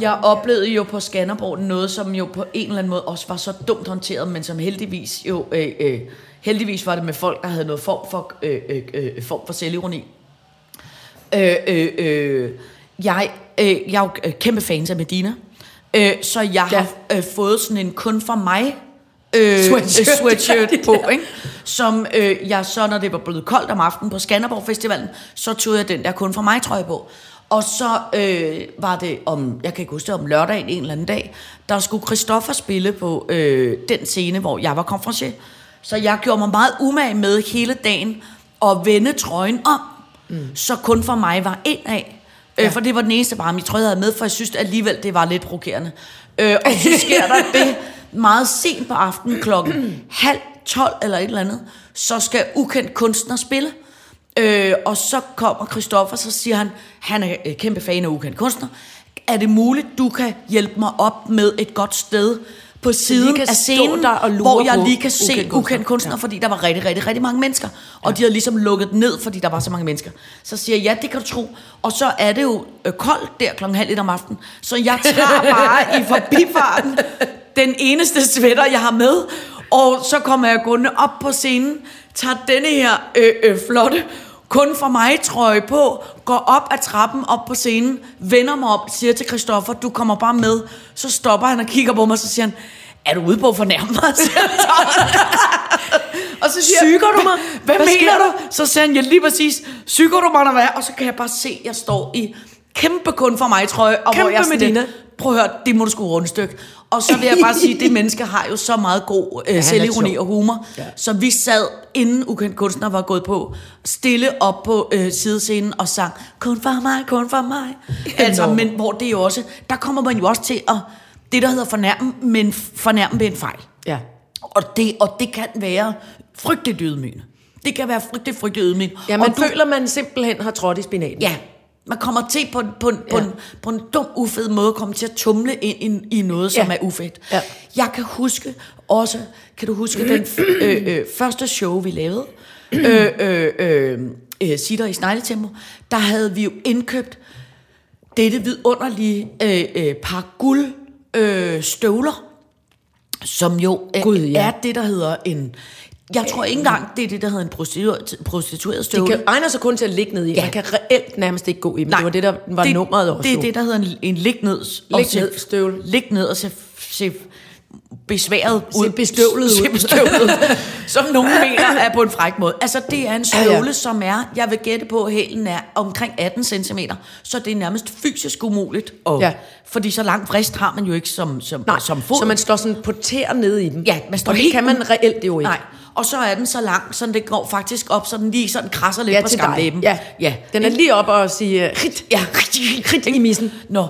D: Jeg oplevede jo på Skanderborg noget, som jo på en eller anden måde også var så dumt håndteret, men som heldigvis jo... Øh, øh, heldigvis var det med folk, der havde noget form for, øh, øh, øh, form for selvironi. Øh, øh, øh, jeg, øh, jeg er jo øh, kæmpe fans af Medina, øh, så jeg ja.
C: Ja.
D: har øh, fået sådan en kun for mig øh, sweatshirt,
C: Sweatshirt.
D: sweatshirt
C: Ja, det
D: på,
C: der.
D: ikke? som øh, jeg så, når det var blevet koldt om aftenen på Skanderborg Festivalen, så tog jeg den der kun for mig trøje på. Og så øh, var det om, jeg kan ikke huske det, om lørdagen en eller anden dag, der skulle Christoffer spille på øh, den scene, hvor jeg var konferencier. Så jeg gjorde mig meget umage med hele dagen at vende trøjen om, mm. så kun for mig var en af. Øh, For det var den eneste varme, jeg tror, jeg havde med, for jeg synes alligevel, det var lidt provokerende. Øh, og så sker der det meget sent på aftenen, klokken halv tolv eller et eller andet, så skal ukendt kunstner spille. Øh, og så kommer Christoffer, så siger han, han er øh, kæmpe fan af ukendt kunstner. Er det muligt, du kan hjælpe mig op med et godt sted på
C: lige
D: siden
C: kan stå
D: af scenen,
C: der og lure
D: hvor jeg
C: på
D: lige kan se
C: ukendt
D: ukendt
C: kunstner.
D: kunstner, kunstner ja. fordi der var rigtig, rigtig, rigtig mange mennesker. Og ja. de havde ligesom lukket den ned, fordi der var så mange mennesker. Så siger jeg, ja, det kan du tro. Og så er det jo øh, koldt der klokken halv et om aftenen. Så jeg tager bare i forbifarten den eneste sweater, jeg har med. Og så kommer jeg gående op på scenen, tager denne her øh, øh, flotte kun for mig trøje på, går op ad trappen op på scenen, vender mig op, siger til Christoffer, du kommer bare med. Så stopper han og kigger på mig, så siger han, er du ude på at fornærme mig? Siger han så. og så siger jeg,
C: Psyker du mig?
D: Hvad, hvad
C: Hvad sker
D: mener
C: der?"
D: du? Så siger han, ja lige præcis, psyker du mig, der hvad? Og så kan jeg bare se, at jeg står i kæmpe kun for mig trøje, og hvor
C: Kæmpe
D: jeg sådan lidt,
C: Medina.
D: prøv at høre, det må du sgu rundstykke. Og så vil jeg bare sige, at det menneske har jo så meget god øh, selvironi
C: sjov.
D: og humor. Ja.
C: Ja.
D: Så vi sad, inden ukendt kunstner var gået på, stille op på øh, sidescenen og sang, kun for mig, kun for mig. Altså,
C: Enormt.
D: men hvor det er jo også, der kommer man jo også til at, det der hedder fornærme, men fornærme ved en fejl.
C: Ja.
D: Og det, og det kan være frygteligt ydmygende. Det kan være frygteligt, frygteligt ydmygende.
C: Ja, man
D: og du-
C: føler, man simpelthen har trådt i spinaten.
D: Ja, man kommer til på, en- på, en, på,
C: Ja.
D: en, på en dum, ufed måde, kommer til at tumle ind i, i noget, som
C: Ja.
D: er ufedt.
C: Ja.
D: Jeg kan huske også, kan du huske den f- øh, øh, første show, vi lavede, øh, øh, øh, øh, Sitter i Snegletempo, der havde vi jo indkøbt dette vidunderlige øh, øh, par guld øh, støvler, som jo øh,
C: Gud,
D: Gud, ja.
C: ja.
D: er det, der hedder en... Jeg tror ikke engang, det er det, der hedder en prostitu- prostitueret støvle.
C: Det kan, egner sig kun til at ligge ned i. Ja. Man kan reelt nærmest ikke gå i dem. Nej, det var det, der var det, nummeret også.
D: Det er det, der hedder en, en lig ned. og
C: Lig
D: se-
C: ned støvle.
D: Lig ned og se, se besværet ud.
C: bestøvlet ud.
D: Se bestøvlet ud. som nogen mener er på en fræk måde. Altså, det er en
C: Ja,
D: støvle,
C: ja.
D: ja, som er, jeg vil gætte på, at hælen er omkring 18 cm. Så det er nærmest fysisk umuligt. Og,
C: Ja.
D: Fordi så lang vrist har man jo ikke som, som,
C: Nej,
D: som fod.
C: så man står sådan på tæer nede i den.
D: Ja, man står
C: og det
D: helt
C: kan man reelt jo ikke.
D: Nej. Og så er den så lang, så det går faktisk op, så den lige sådan krasser lidt
C: ja,
D: på
C: til dig.
D: skamlæben.
C: Ja.
D: ja.
C: Den er lige op og øh, siger, rit,
D: Ja,
C: rit i missen.
D: Nå,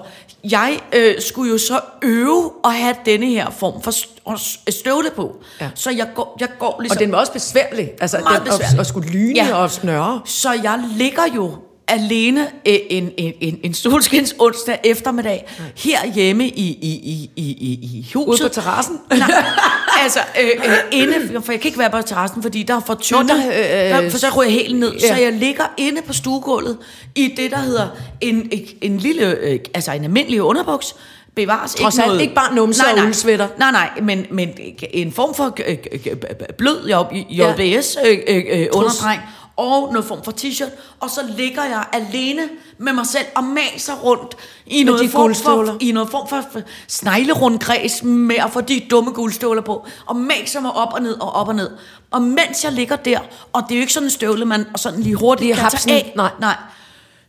D: jeg øh, skulle jo så øve at have denne her form for st- støvle på. Ja.
C: Ja.
D: Så jeg går, jeg går
C: Og
D: ligesom...
C: den var også besværlig. Altså,
D: Meget
C: den, og-
D: besværlig.
C: Og, skulle lyne
D: Ja.
C: ja. og snøre.
D: Så jeg ligger jo alene øh, en, en, en, en solskins onsdag eftermiddag herhjemme i, i, i, i, i, i huset.
C: Ude på terrassen.
D: Nej, altså øh, øh, inde, for jeg kan ikke være på terrassen, fordi der er for tyndt,
C: Nå, der, øh,
D: der, for så ryger jeg helt ned. Så
C: ja.
D: jeg ligger inde på stuegulvet i det, der hedder en, en, en lille, øh, altså en almindelig underbuks, bevares
C: Trods alt ikke bare numse
D: nej,
C: og
D: nej.
C: uldsvætter.
D: Nej, nej, men, men en form for øh, øh, blød JBS øh, øh, øh, underdreng, og noget form for t-shirt, og så ligger jeg alene med mig selv og maser rundt i noget,
C: de
D: form for,
C: guldstøvler.
D: i noget form for sneglerund kreds med at få de dumme guldstøvler på, og maser mig op og ned og op og ned. Og mens jeg ligger der, og det er jo ikke sådan en støvle, man og sådan lige hurtigt
C: Lige
D: kan
C: hapsen.
D: tage af.
C: Nej.
D: nej.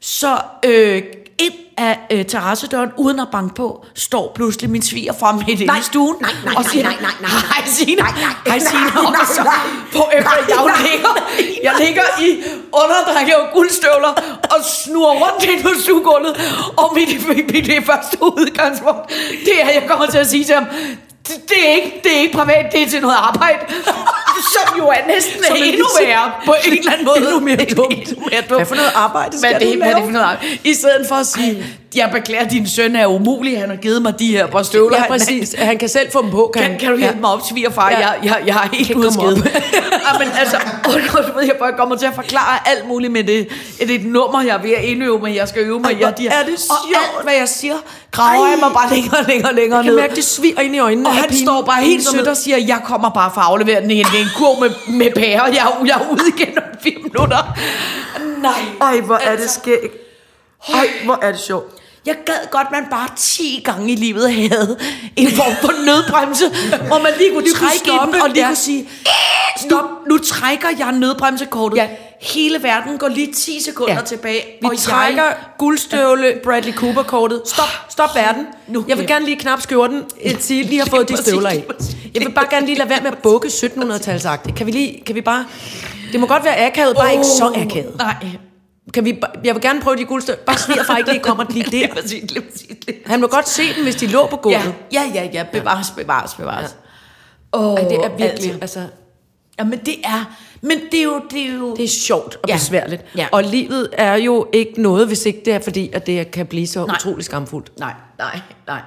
D: Så øh, ind af øh, terrassedøren, uden at banke på, står pludselig min svigerfar midt inde i stuen. Nej, nej, og siger, nej, nej, nej, nej. Hej Signe, hej Signe. Og så på efter, jeg jo ligger, jeg ligger i underdrakke og guldstøvler og snurrer rundt ind på stuegulvet. Og mit, mit, mit, mit første udgangspunkt, det er, at jeg kommer til at sige til ham, det, det, er ikke, det er ikke privat, det er til noget arbejde. Som jo er næsten
C: Som er
D: endnu
C: lige-
D: værre på en eller anden måde.
C: Endnu mere dumt.
D: Endnu mere dumt.
C: Hvad for noget arbejde skal
D: Hvad er det,
C: du
D: hvad er det
C: lave?
D: for noget arbejde? I stedet for at sige, jeg beklager, din søn er umulig, han har givet mig de her par støvler.
C: Ja,
D: han-
C: præcis. Han kan selv få dem på, kan,
D: Kan, kan du hjælpe
C: ja.
D: mig op, svigerfar? Ja.
C: Ja.
D: Jeg, jeg, jeg er helt
C: Kan ikke komme
D: udskidt.
C: op.
D: ja, men altså, og du ved, jeg bare kommer til at forklare alt muligt med det. Det er et nummer, jeg er ved at indøve mig, jeg skal øve mig.
C: Ej,
D: Jeg,
C: hvor er det
D: og alt,
C: sjovt.
D: hvad jeg siger, graver jeg
C: Ej.
D: mig bare længere og længere og længere
C: Jeg kan
D: ned.
C: mærke, det sviger ind i øjnene.
D: Og
C: af
D: han
C: pinen.
D: står bare helt
C: Ensomhed.
D: sødt og siger, jeg kommer bare for at aflevere den i en, en kurv med, med pære. Jeg, er- jeg er ude igen om fire minutter. Nej. altså.
C: Ej, hvor er det skægt. Ej, hvor er det sjovt.
D: Jeg gad godt, man bare 10 gange i livet havde en form for nødbremse, hvor man lige kunne
C: Lige kunne
D: trække i den
C: stoppe,
D: og lige
C: ja.
D: kunne sige, stop, nu trækker jeg nødbremsekortet.
C: Ja.
D: Ja. Hele verden går lige 10 sekunder
C: Ja.
D: ja. tilbage,
C: Vi og trækker jeg... guldstøvle Bradley Cooper-kortet. Stop, stop verden.
D: Nu-
C: jeg vil gerne lige knap skjorten øh, sige, lige har fået de
D: Præcis,
C: støvler af.
D: præcis.
C: Jeg vil bare gerne lige lade være med at bukke 1700-talsagtigt. Kan vi lige, kan vi bare... Jeg- Det må godt være akavet, bare oh. ikke så akavet.
D: Nej.
C: Kan vi, ba- jeg vil gerne prøve de guldstøvler. Bare svigerfar ikke lige kommer lige der.
D: Lige præcis, lige præcis, lige.
C: Han må godt se dem, hvis de lå på
D: Ja,
C: gulvet.
D: ja, ja, ja. Bevares, bevares, bevares. Ja. Oh,
C: Ja. Det er virkelig, altså,
D: Jamen, det er... Men det er jo... Det er jo
C: det er sjovt og
D: Ja.
C: besværligt.
D: Ja.
C: Og livet er jo ikke noget, hvis ikke det er fordi, at det kan blive så
D: Nej.
C: utrolig skamfuldt.
D: Nej, nej, nej.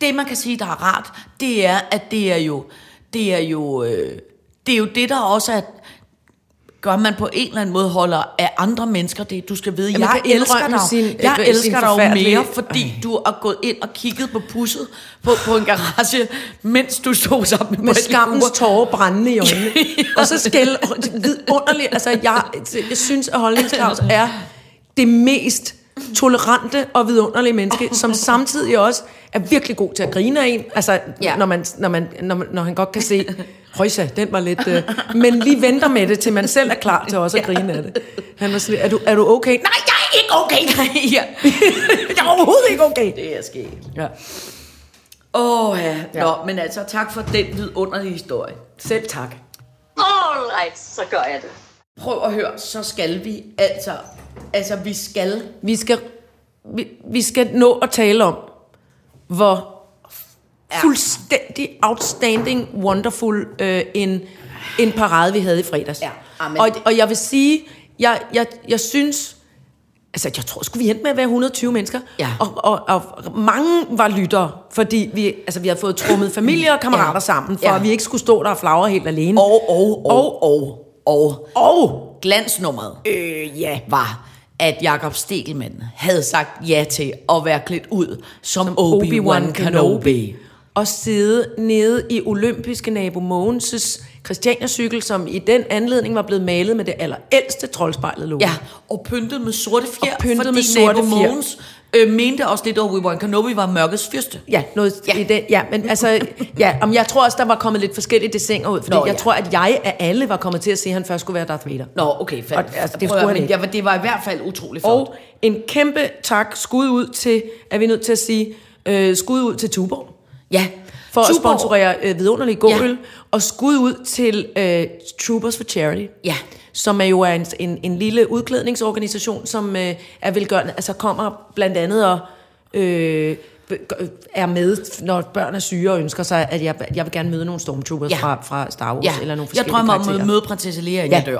D: Det, man kan sige, der er rart, det er, at det er jo... Det er jo, øh, det, er jo det, der også er gør man på en eller anden måde holder af andre mennesker det. Du skal vide,
C: At man
D: jeg
C: kan
D: elsker
C: indrømme
D: dig,
C: sin-
D: sin, jeg
C: øh, sin
D: elsker dig jo
C: forfærdelige-
D: mere, fordi Ej. du har gået ind og kigget på pusset på, på en garage, mens du stod sammen med,
C: med
D: Bradley
C: skammens
D: Cooper.
C: tårer brændende i øjnene. Og så skæld vidunderligt. Altså, jeg, jeg synes, at holdningsklaus er det mest tolerante og vidunderlige menneske, som samtidig også er virkelig god til at grine af en. Altså, ja.
D: Ja.
C: når, man, når, man, når, man, når han godt kan se, højsa, den var lidt... Øh, men lige venter med det, til man selv er klar til også at grine af det. Han var sådan, lidt, er du, er du okay? Nej,
D: Nej, jeg er ikke okay. Nej, ja.
C: jeg er overhovedet ikke okay.
D: Det er sket.
C: Ja.
D: Åh oh, ja. ja. Nå, men altså tak for den vidunderlige historie.
C: Selv tak.
B: Alright, så gør jeg det.
D: Prøv at høre, så skal vi altså... Altså, vi skal...
C: Vi skal, vi, vi skal nå at tale om, hvor ja. fuldstændig outstanding, wonderful øh, en, en parade, vi havde i fredags.
D: Ja, amen.
C: og, og jeg vil sige, jeg, jeg, jeg synes... Altså, jeg tror, skulle vi endte med at være 120 mennesker.
D: Ja.
C: Og, og, og mange var lyttere, fordi vi, altså, vi havde fået trummet familie og kammerater ja.
D: Ja.
C: sammen, for ja.
D: Ja.
C: at vi ikke skulle stå der og flagre helt alene.
D: Og, og, og, og, og,
C: og
D: glansnummeret øh, ja. var, at Jakob Stegelmann havde sagt ja til at være klædt ud som, som Obi-Wan Kenobi. Kenobi.
C: og sidde nede i olympiske nabo Mogens' Christianercykel, som i den anledning var blevet malet med det allerældste troldspejlet logo.
D: Ja, og pyntet med sorte fjer,
C: Og pyntet
D: fordi
C: med sorte
D: nabo
C: fjer.
D: Mogens øh, mente også lidt, at Obi-Wan Kenobi var mørkets fyrste.
C: Ja, noget ja.
D: Ja.
C: i den. Ja, men altså, ja, om jeg tror også, der var kommet lidt forskellige dessinger ud, fordi Nå,
D: Nå,
C: jeg
D: ja.
C: tror, at jeg af alle var kommet til at se, at han først skulle være Darth Vader.
D: Nå, okay, fald.
C: Og, altså, det
D: Prøv
C: skulle
D: at høre,
C: han
D: men
C: ikke.
D: jeg, var- det var i hvert fald utrolig flot.
C: Og en kæmpe tak, skud ud til, er vi nødt til at sige, øh, skud ud til Tuborg.
D: ja,
C: For at
D: Tuborg.
C: sponsorere øh, vidunderlig god
D: Ja.
C: øl, og skud ud til øh, Troopers for Charity.
D: Ja.
C: som er jo er en, en, en lille udklædningsorganisation, som øh, er velgørende, altså kommer blandt andet og øh, be- gø- er med, når børn er syge og ønsker sig, at jeg, jeg vil gerne møde nogle stormtroopers ja.
D: Ja.
C: fra, fra Star Wars,
D: Ja,
C: eller nogle
D: jeg
C: forskellige
D: drømmer om
C: karakterer.
D: at møde prinsesse Lea, inden ja. jeg dør.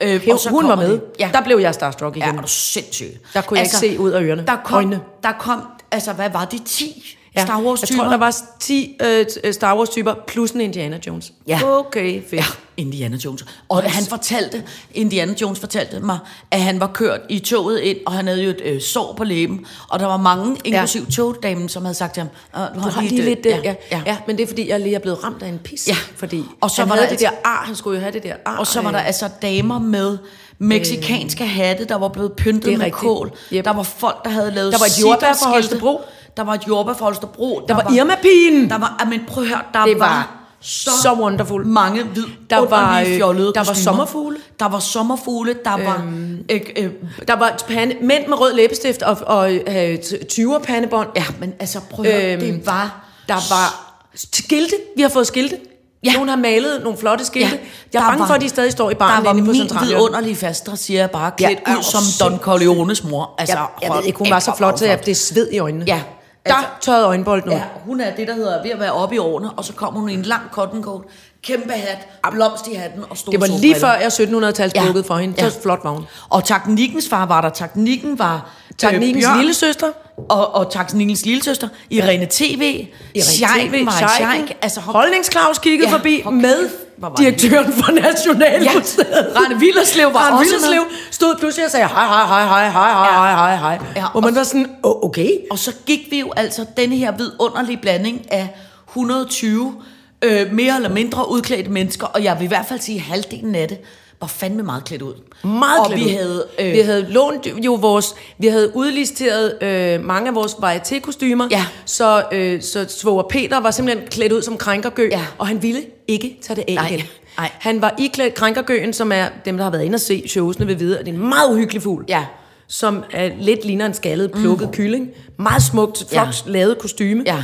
D: Øh,
C: Hæv, hun var
D: kommer
C: med.
D: det. Ja.
C: Der blev jeg starstruck igen.
D: Ja, er du sindssyg. Altså,
C: Der kunne jeg ikke se ud af ørerne.
D: Der kom,
C: Øjnene.
D: der kom, altså hvad var det, 10 ja. Star
C: Jeg
D: Wars-typer?
C: tror, der var 10 øh, t- øh, Star Wars-typer, plus en Indiana Jones.
D: Ja.
C: Okay, fedt.
D: Ja, Indiana Jones. Og han fortalte, Indiana Jones fortalte mig, at han var kørt i toget ind, og han havde jo et øh, sår på læben. Og der var mange, inklusiv ja. togdamen, som havde sagt til ham, "Åh, du,
C: Du har lige lidt,
D: øh,
C: ja, ja, ja. ja, men det er fordi, jeg lige er blevet ramt af en pis.
D: Ja.
C: Fordi
D: Og så
C: han
D: var
C: havde
D: der
C: det der ar, han skulle jo have det der ar. øh,
D: Og så var der altså damer med meksikanske hatte, der var blevet
C: Det er
D: pyntet med
C: rigtigt.
D: kål.
C: Yep.
D: Yep. Der var folk, der havde lavet
C: Der var et jordbær fra
D: sikkerhedsskilte.
C: Holstebro.
D: Der var et jordbær fra Holstebro.
C: Der var Irma-pigen.
D: Der var, ah, men prøv at høre, der
C: Det var
D: så,
C: så wonderful.
D: mange vid,
C: Der var,
D: underlige
C: øh,
D: fjollede
C: der var
D: kostymer.
C: sommerfugle. Øhm.
D: Der var sommerfugle. Der var... Øh, øh,
C: Der var pande, mænd med rød læbestift og, og øh, 20'er pandebånd.
D: ja, men altså prøv at høre,
C: Øhm,
D: det var...
C: Der var skilte. Vi har fået skilte. Ja.
D: Ja.
C: Nogen har malet nogle flotte skilte. Ja. Jeg er
D: der
C: bange
D: var-
C: for, at de stadig står i
D: Der
C: baren
D: var
C: inde på
D: min
C: centralen.
D: vidunderlige faster, siger jeg bare,
C: Ja,
D: klædt
C: er
D: ja,
C: du
D: ud som Don Corleones mor. Altså,
C: Jeg, jeg ved
D: hold
C: ikke, hun var
D: kæft,
C: så
D: hvor
C: flot,
D: var hun
C: at det er sved i øjnene.
D: Ja,
C: Der
D: altså-
C: tørrede øjenbolden ud.
D: Ja, hun er det, der hedder ved at være oppe i årene, og så kommer hun i en lang cotton coat, kæmpe hat, blomst i hatten og store
C: Det var lige
D: solbriller.
C: før jeg 1700-tals
D: Ja.
C: bukket for hende.
D: Ja. Øh,
C: Så flot var hun. Øh,
D: Og teknikkens far var der. Teknikken var...
C: Teknikkens
D: Bjørn
C: lille søster.
D: Og, og teknikkens lille søster. Irene TV. Sjejken var en sjejk. Altså, hold...
C: Holdningsklaus kiggede
D: Ja,
C: forbi
D: hold
C: med
D: kæft, hvor var det
C: direktøren for Nationalmuseet.
D: Ja, Rane Willerslev var
C: Rane
D: også
C: Willerslev stod pludselig og sagde, hej, hej, hej, hej, hej, hej, hej, hej, hej.
D: Ja,
C: Hvor
D: og
C: man
D: så-
C: var sådan, "Åh, okay.
D: Og så gik vi jo altså denne her vidunderlige blanding af 120 øh, mere eller mindre udklædte mennesker, og jeg vil i hvert fald sige, at halvdelen af det var fandme meget klædt ud.
C: Meget
D: og
C: klædt
D: vi
C: ud.
D: havde... Øh,
C: vi havde lånt jo vores, vi havde udlisteret øh, mange af vores varieté-kostymer,
D: Ja.
C: så, øh, så svoger Peter var simpelthen klædt ud som krænkergø,
D: Ja.
C: og han ville ikke tage det af
D: Nej,
C: igen.
D: nej.
C: Han var iklædt krænkergøen, som er dem, der har været inde og se showsene ved vide, at det er en meget hyggelig fugl.
D: Ja.
C: Som er lidt ligner en skaldet plukket mm. kylling. Meget smukt,
D: Ja.
C: flot ja. lavet kostyme.
D: ja.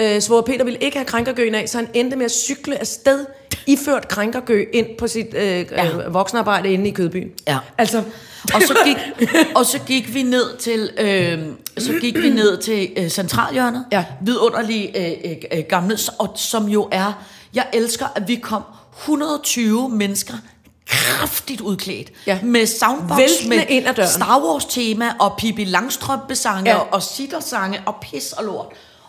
C: Øh, Svore Peter ville ikke have krænkergøen af, så han endte med at cykle afsted, iført krænkergø, ind på sit øh, ja. voksenarbejde inde i Kødbyen.
D: Ja.
C: Altså,
D: Og så gik, og så gik vi ned til, øh, så gik vi ned til øh, centralhjørnet,
C: Ja.
D: vidunderlige øh, øh, øh, gamle, s- og, som jo er, jeg elsker, at vi kom 120 mennesker kraftigt udklædt,
C: Ja.
D: med soundbox,
C: Væltende
D: med
C: ind ad døren.
D: Star Wars tema, og Pippi Langstrømpe-sange,
C: Ja.
D: ja. og sittersange, og pis og lort.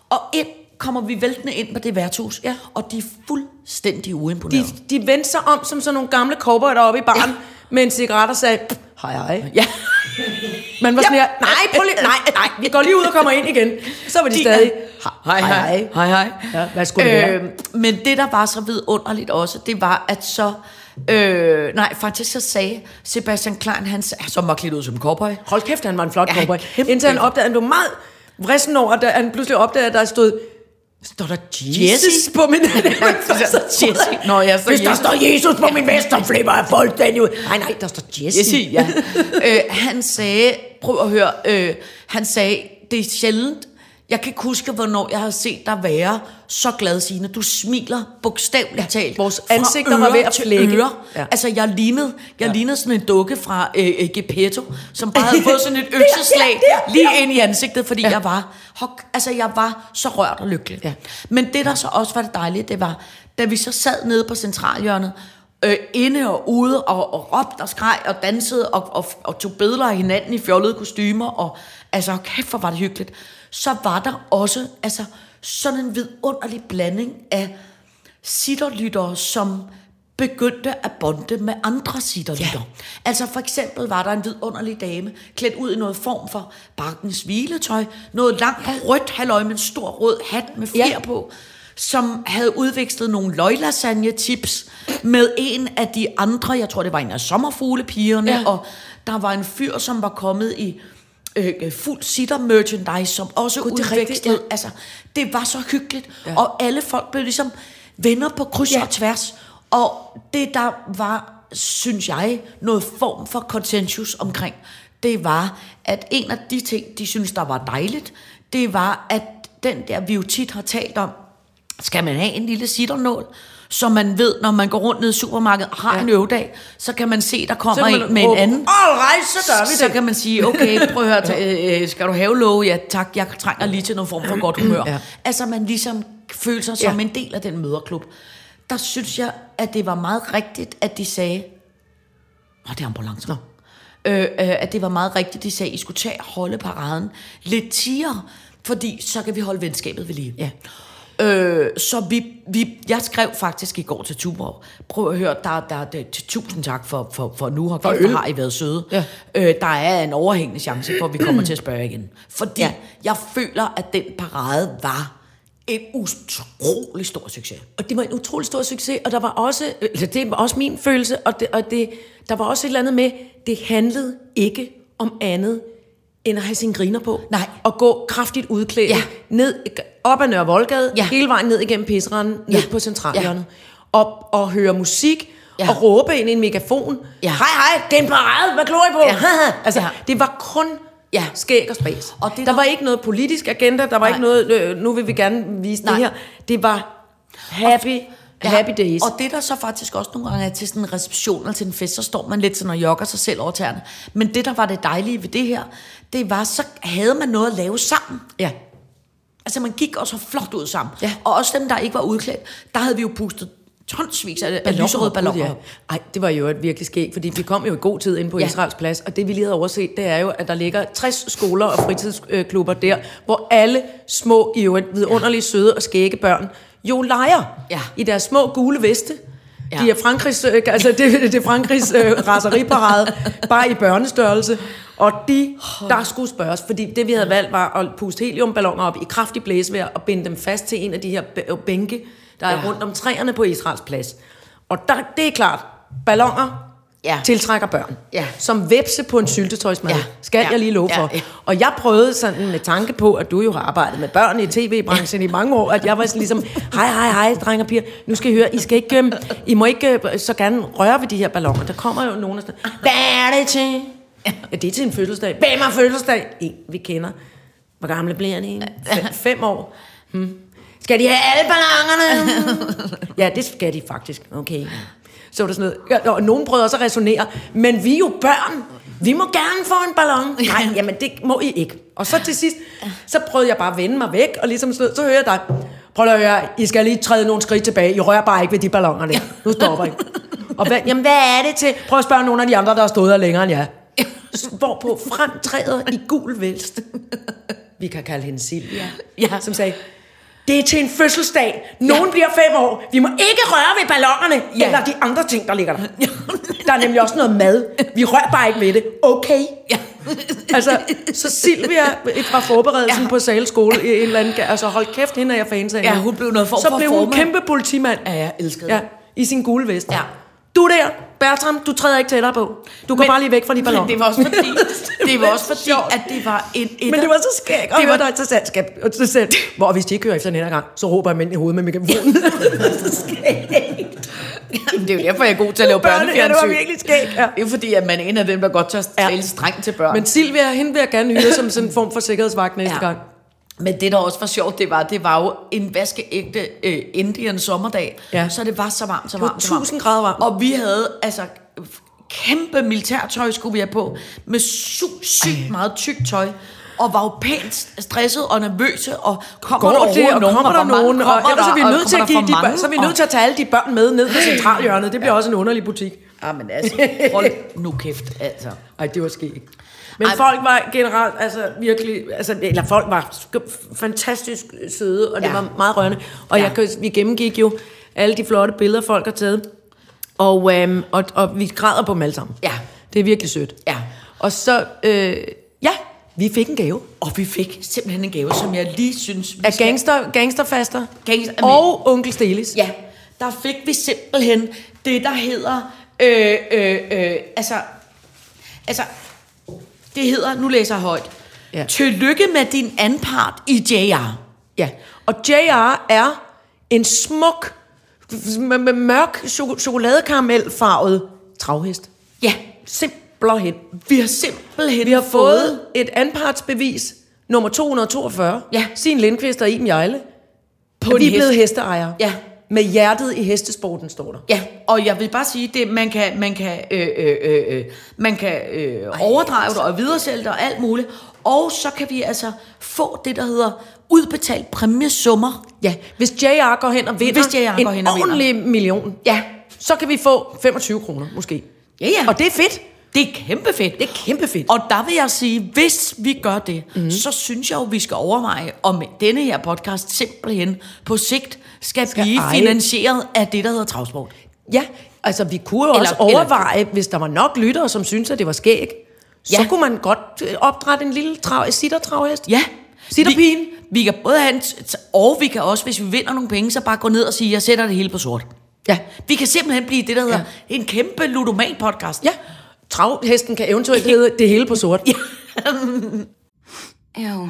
D: Og ind kommer vi væltende ind på det værtshus,
C: Ja.
D: og de er fuldstændig uimponerede.
C: de, de vendte sig om som sådan nogle gamle cowboy deroppe i baren, ja.
D: Ja.
C: med en cigaret og sagde, "Pff, hej hej.
D: Ja.
C: Man var sådan
D: Ja.
C: her, nej, prøv lige, nej, nej, vi går lige ud og kommer ind igen. Så var de,
D: De-
C: stadig,
D: Hej, hej. Hej, hej. Øhm,
C: Ja, hvad skulle det være?
D: Men det, der var så vidunderligt også, det var, at så... Øh, nej, faktisk så sagde Sebastian Klein, han sagde, som var klædt ud som en cowboy.
C: Hold kæft, han var en flot
D: Ja,
C: cowboy.
D: kæmpe.
C: Indtil han opdagede, han blev meget vrissen over, da han pludselig opdagede, at der stod, står der Jesus,
D: Jesse?
C: på min...
D: så Jesse. Nå, ja, så
C: Hvis der
D: Jesse.
C: står Jesus på min vest, så flipper jeg fuldstændig ud. Nej, nej, der står Jesse.
D: Jesse, ja. øh, han sagde, prøv at høre, øh, han sagde, det er sjældent, jeg kan ikke huske, hvornår jeg har set dig være så glad, Signe. Du smiler bogstaveligt talt.
C: vores
D: fra
C: ansigter
D: øre
C: var ved at
D: til
C: flække.
D: Øre.
C: Ja.
D: Ja. Altså, jeg lignede, jeg lignede sådan en dukke fra øh, øh, Gepetto, som bare havde fået sådan et
C: Der, der,
D: økseslag
C: der,
D: lige
C: der.
D: ind i ansigtet, fordi ja. jeg var hok, altså, jeg var så rørt og lykkelig.
C: Ja.
D: Men det, der så også var det dejlige, det var, da vi så sad nede på centralhjørnet, øh, inde og ude, og, og råbte og skreg og dansede, og, og, og tog billeder af hinanden i fjollede kostymer, og altså, kæft, hvor var det hyggeligt. Så var der også, altså, sådan en vidunderlig blanding af sitterlyttere, som begyndte at bonde med andre sitterlytter. Ja. Altså for eksempel var der en vidunderlig dame, klædt ud i noget form for bakkens hviletøj, noget langt rødt halvøj med en stor rød hat med fjer
C: Ja.
D: ja. på, som havde udvekslet nogle løglasagne-tips med en af de andre, jeg tror det var en af sommerfuglepigerne,
C: Ja.
D: ja. og der var en fyr, som var kommet i øh, øh, fuld sitter-merchandise, som også
C: Gud, det er
D: udvekslede.
C: rigtigt,
D: Det
C: ja.
D: Altså, det var så hyggeligt, ja. og alle folk blev ligesom venner på kryds
C: Ja.
D: ja. og tværs, og det der var, synes jeg, noget form for konsensus omkring, det var, at en af de ting, de synes der var dejligt, det var, at den der, vi jo tit har talt om, skal man have en lille sitternål, så man ved, når man går rundt ned i supermarkedet og har
C: Ja.
D: ja. en øvdag, så kan man se, der
C: Så
D: kommer
C: kan
D: en
C: man
D: med en
C: råbe,
D: anden
C: All right, så gør vi det.
D: så kan man sige, okay, prøv at høre, ta- øh, skal du have lov? Ja tak, jeg trænger lige til noget form for godt humør.
C: Ja.
D: ja. Altså man ligesom føler sig som
C: Ja.
D: ja. en del af den møderklub. Der synes jeg, at det var meget rigtigt, at de sagde, Nå, det er ambulancer. Øh, øh, at det var meget rigtigt, de sagde, I skulle tage og holde paraden lidt tiere, fordi så kan vi holde venskabet ved lige.
C: Ja.
D: Øh, så vi, vi, jeg skrev faktisk i går til Tuborg, prøv at høre, der, der, der tusind tak for, for, for nu, har, for
C: øl.
D: har I været søde.
C: Ja.
D: Øh, der er en overhængende chance for, at vi kommer til at spørge igen. Fordi
C: Ja.
D: ja. jeg føler, at den parade var en utrolig stor succes.
C: Og det var en utrolig stor succes, og der var også, øh, altså, det var også min følelse, og, det, og det, der var også et eller andet med, det handlede ikke om andet, end at have sine griner på.
D: Nej.
C: Og gå kraftigt udklædt ja.
D: Ja.
C: ned, op ad Nørre Voldgade, ja.
D: Ja.
C: hele vejen ned igennem pisseranden, ja. ned
D: Ja.
C: på centralhjørnet. Ja. Og, og høre musik, ja.
D: Ja.
C: og råbe ind i en megafon.
D: Ja.
C: Hej, hej, det er en parade, hvad klog I på?
D: Ja.
C: altså,
D: Ja.
C: det var kun
D: Ja.
C: skæg og spas.
D: Og det,
C: der
D: der-
C: var ikke noget politisk agenda, der var
D: Nej.
C: ikke noget, øh, nu vil vi gerne vise
D: Nej.
C: det her. Det var happy, ja. happy days.
D: Og det der så faktisk også nogle gange er til sådan en reception eller til en fest, så står man lidt sådan og jogger sig selv over tæerne. Men det der var det dejlige ved det her, det var, så havde man noget at lave sammen.
C: ja.
D: Altså man gik og så flot ud sammen.
C: Ja.
D: Og også dem, der ikke var udklædt, der havde vi jo pustet tonsvis af, af
C: Balloner,
D: lyserøde
C: gud,
D: balloner.
C: ja.
D: Ja.
C: Ej, det var jo et virkelig skægt, fordi vi kom jo i god tid ind på ja.
D: Ja.
C: Israels plads, og det vi lige havde overset, det er jo, at der ligger 60 skoler og fritidsklubber der, hvor alle små, i øvrigt vidunderlige, søde og skægge børn jo leger
D: Ja.
C: i deres små gule veste. Ja.
D: Ja.
C: De er Frankrigs, øh, altså det, det er Frankrigs øh, raseriparade, bare i børnestørrelse. Og de, der skulle spørges, fordi det vi havde valgt var at puste heliumballoner op i kraftig blæsevejr og binde dem fast til en af de her bæ- øh, bænke, der er
D: Ja.
C: rundt om træerne på Israels plads. Og der, det er klart, ballonger,
D: Ja.
C: tiltrækker børn.
D: Ja.
C: Som vepse på en syltetøjsmad.
D: Ja.
C: Skal
D: Ja.
C: jeg lige love
D: Ja.
C: for.
D: Ja.
C: Og jeg prøvede sådan med tanke på, at du jo har arbejdet med børn i tv-branchen i mange år, at jeg var sådan ligesom, hej, hej, hej, drenge og piger, nu skal I høre, I skal ikke, øhm, I må ikke øh, så gerne røre ved de her balloner. Der kommer jo nogen og sådan, hvad er det til? Ja, det er til en fødselsdag. Hvem har fødselsdag? En, vi kender. Hvor gamle bliver de? Fem, fem år. Skal de have alle ballongerne? ja, det skal de faktisk. Okay. Så var der sådan noget. Ja, og nogen prøvede også at resonere. Men vi er jo børn. Vi må gerne få en ballon. Nej, jamen det må I ikke. Og så til sidst, så prøvede jeg bare at vende mig væk, og ligesom sådan noget, så hører jeg dig. Prøv lige at høre, I skal lige træde nogle skridt tilbage. I rører bare ikke ved de ballonger der. Nu stopper I. Og hvad, jamen, hvad er det til? Prøv at spørge nogle af de andre, der har stået her længere end jeg. Hvorpå fremtræder i gul vest. Vi kan kalde hende Silvia.
D: Ja.
C: Som sagde, det er til en fødselsdag. Nogen ja. bliver fem år. Vi må ikke røre ved ballongerne, ja.
D: Ja.
C: eller de andre ting, der ligger der. Der er nemlig også noget mad. Vi rører bare ikke ved det. Okay.
D: Ja.
C: Altså, så Silvia fra forberedelsen ja. på Sales skole i en eller anden... ga- Altså, hold kæft, hende er jeg fans af.
D: Ja,
C: nu.
D: hun blev noget form
C: Så
D: for
C: blev hun
D: formand.
C: kæmpe politimand.
D: Ja, jeg elskede
C: Ja,
D: det.
C: i sin gule vest.
D: Ja.
C: Du der, Bertram, du træder ikke tættere på. Du går
D: Men-
C: bare lige væk fra de balloner.
D: Men det var også fordi, det var også fordi
C: sjovt.
D: at det var en etter.
C: Men det var så skægt at
D: Det
C: høre
D: var-
C: dig til selskab. og til selv. Hvor hvis de ikke hører efter den her gang, så råber jeg mænd i hovedet med mikrofonen. det var så skægt.
D: det er jo derfor, jeg er god til at lave børnefjernsyn.
C: Ja, det var virkelig skægt. Ja.
D: Det er jo fordi, at man er en af dem, der godt tør
C: Ja.
D: tale strengt til børn.
C: Men Silvia, hende vil jeg gerne hyre som sådan en form for sikkerhedsvagt næste ja. gang.
D: Men det, der også var sjovt, det var, det var jo en vaskeægte øh, Indian sommerdag.
C: Ja.
D: Så det var så varmt, så
C: var
D: varmt. så varmt.
C: 1000 grader varmt.
D: Og vi havde altså kæmpe militærtøj, skulle vi have på, med sygt, sygt meget tykt tøj. Og var jo pænt stresset og nervøse, og kommer der
C: Går det,
D: overhovedet
C: og kommer der
D: hvor mange
C: nogen, og
D: kommer
C: ellers
D: der,
C: er vi
D: og
C: nødt til
D: kommer
C: at give
D: der
C: de
D: for
C: børn,
D: mange,
C: så er vi
D: og-
C: nødt til at tage alle de børn med ned på centralhjørnet. Det bliver også en underlig butik.
D: Ja, men altså, hold nu kæft, altså.
C: Ej, det var skægt. Men Ej,
D: Ej,
C: folk var generelt, altså virkelig, altså, eller folk var sk- fantastisk søde, og det ja.
D: Ja.
C: var meget rørende. Og ja.
D: Ja.
C: jeg, kan- vi gennemgik jo alle de flotte billeder, folk har taget. Og, øhm, og, og vi græder på dem alle sammen.
D: Ja.
C: Det er virkelig sødt.
D: Ja.
C: Og så, øh, ja, vi fik en gave.
D: Og vi fik simpelthen en gave, som jeg lige synes... vi
C: Af
D: skal-
C: gangster, gangsterfaster
D: Gangster-
C: og onkel Stelis.
D: Ja, der fik vi simpelthen det, der hedder... Øh, øh, øh, altså, altså, det hedder, nu læser jeg højt,
C: Ja.
D: ja. Tillykke med din anpart i JR.
C: Ja, og JR er en smuk, med, med mørk choko- chokoladekaramelfarvet travhest.
D: Ja,
C: Simpelthen.
D: vi har simpelthen
C: Vi har fået et anpartsbevis, nummer 242.
D: Ja.
C: Sin Lindqvist og Iben Jejle. På
D: en
C: vi er
D: hest.
C: blevet hesteejere.
D: Ja.
C: Med hjertet i hestesporten, står der.
D: Ja, og jeg vil bare sige, det man kan man kan øh, øh, øh, øh, man kan øh, overdrage det og videresælge det og alt muligt. Og så kan vi altså få det der hedder udbetalt præmiesummer.
C: Ja, hvis JR går hen og vinder
D: Hvis JR
C: en
D: går hen og vinder.
C: ordentlig million,
D: Ja.
C: så kan vi få 25 kroner måske.
D: Ja, ja.
C: Og det er fedt.
D: Det er kæmpe fedt.
C: Det er kæmpe fedt.
D: Og der vil jeg sige, hvis vi gør det,
C: Mhm.
D: mm. så synes jeg jo, vi skal overveje, om denne her podcast simpelthen på sigt skal, skal blive
C: eje-
D: finansieret af det, der hedder travsport.
C: Ja, altså vi kunne jo eller,
D: Eller-
C: også overveje, eller, hvis der var nok lyttere, som syntes, at det var skæg, ja. så
D: Ja.
C: kunne man godt øh, opdrætte en lille trav, sittertravhest.
D: Ja.
C: Sitterpigen.
D: Vi, vi kan både have en, t- t- og vi kan også, hvis vi vinder nogle penge, så bare gå ned og sige, jeg sætter det hele på sort.
C: Ja.
D: Vi kan simpelthen blive det, der hedder ja. en kæmpe ludoman-podcast.
C: ja. Travhesten kan eventuelt hedde det hele på sort. Ja.
E: Ew,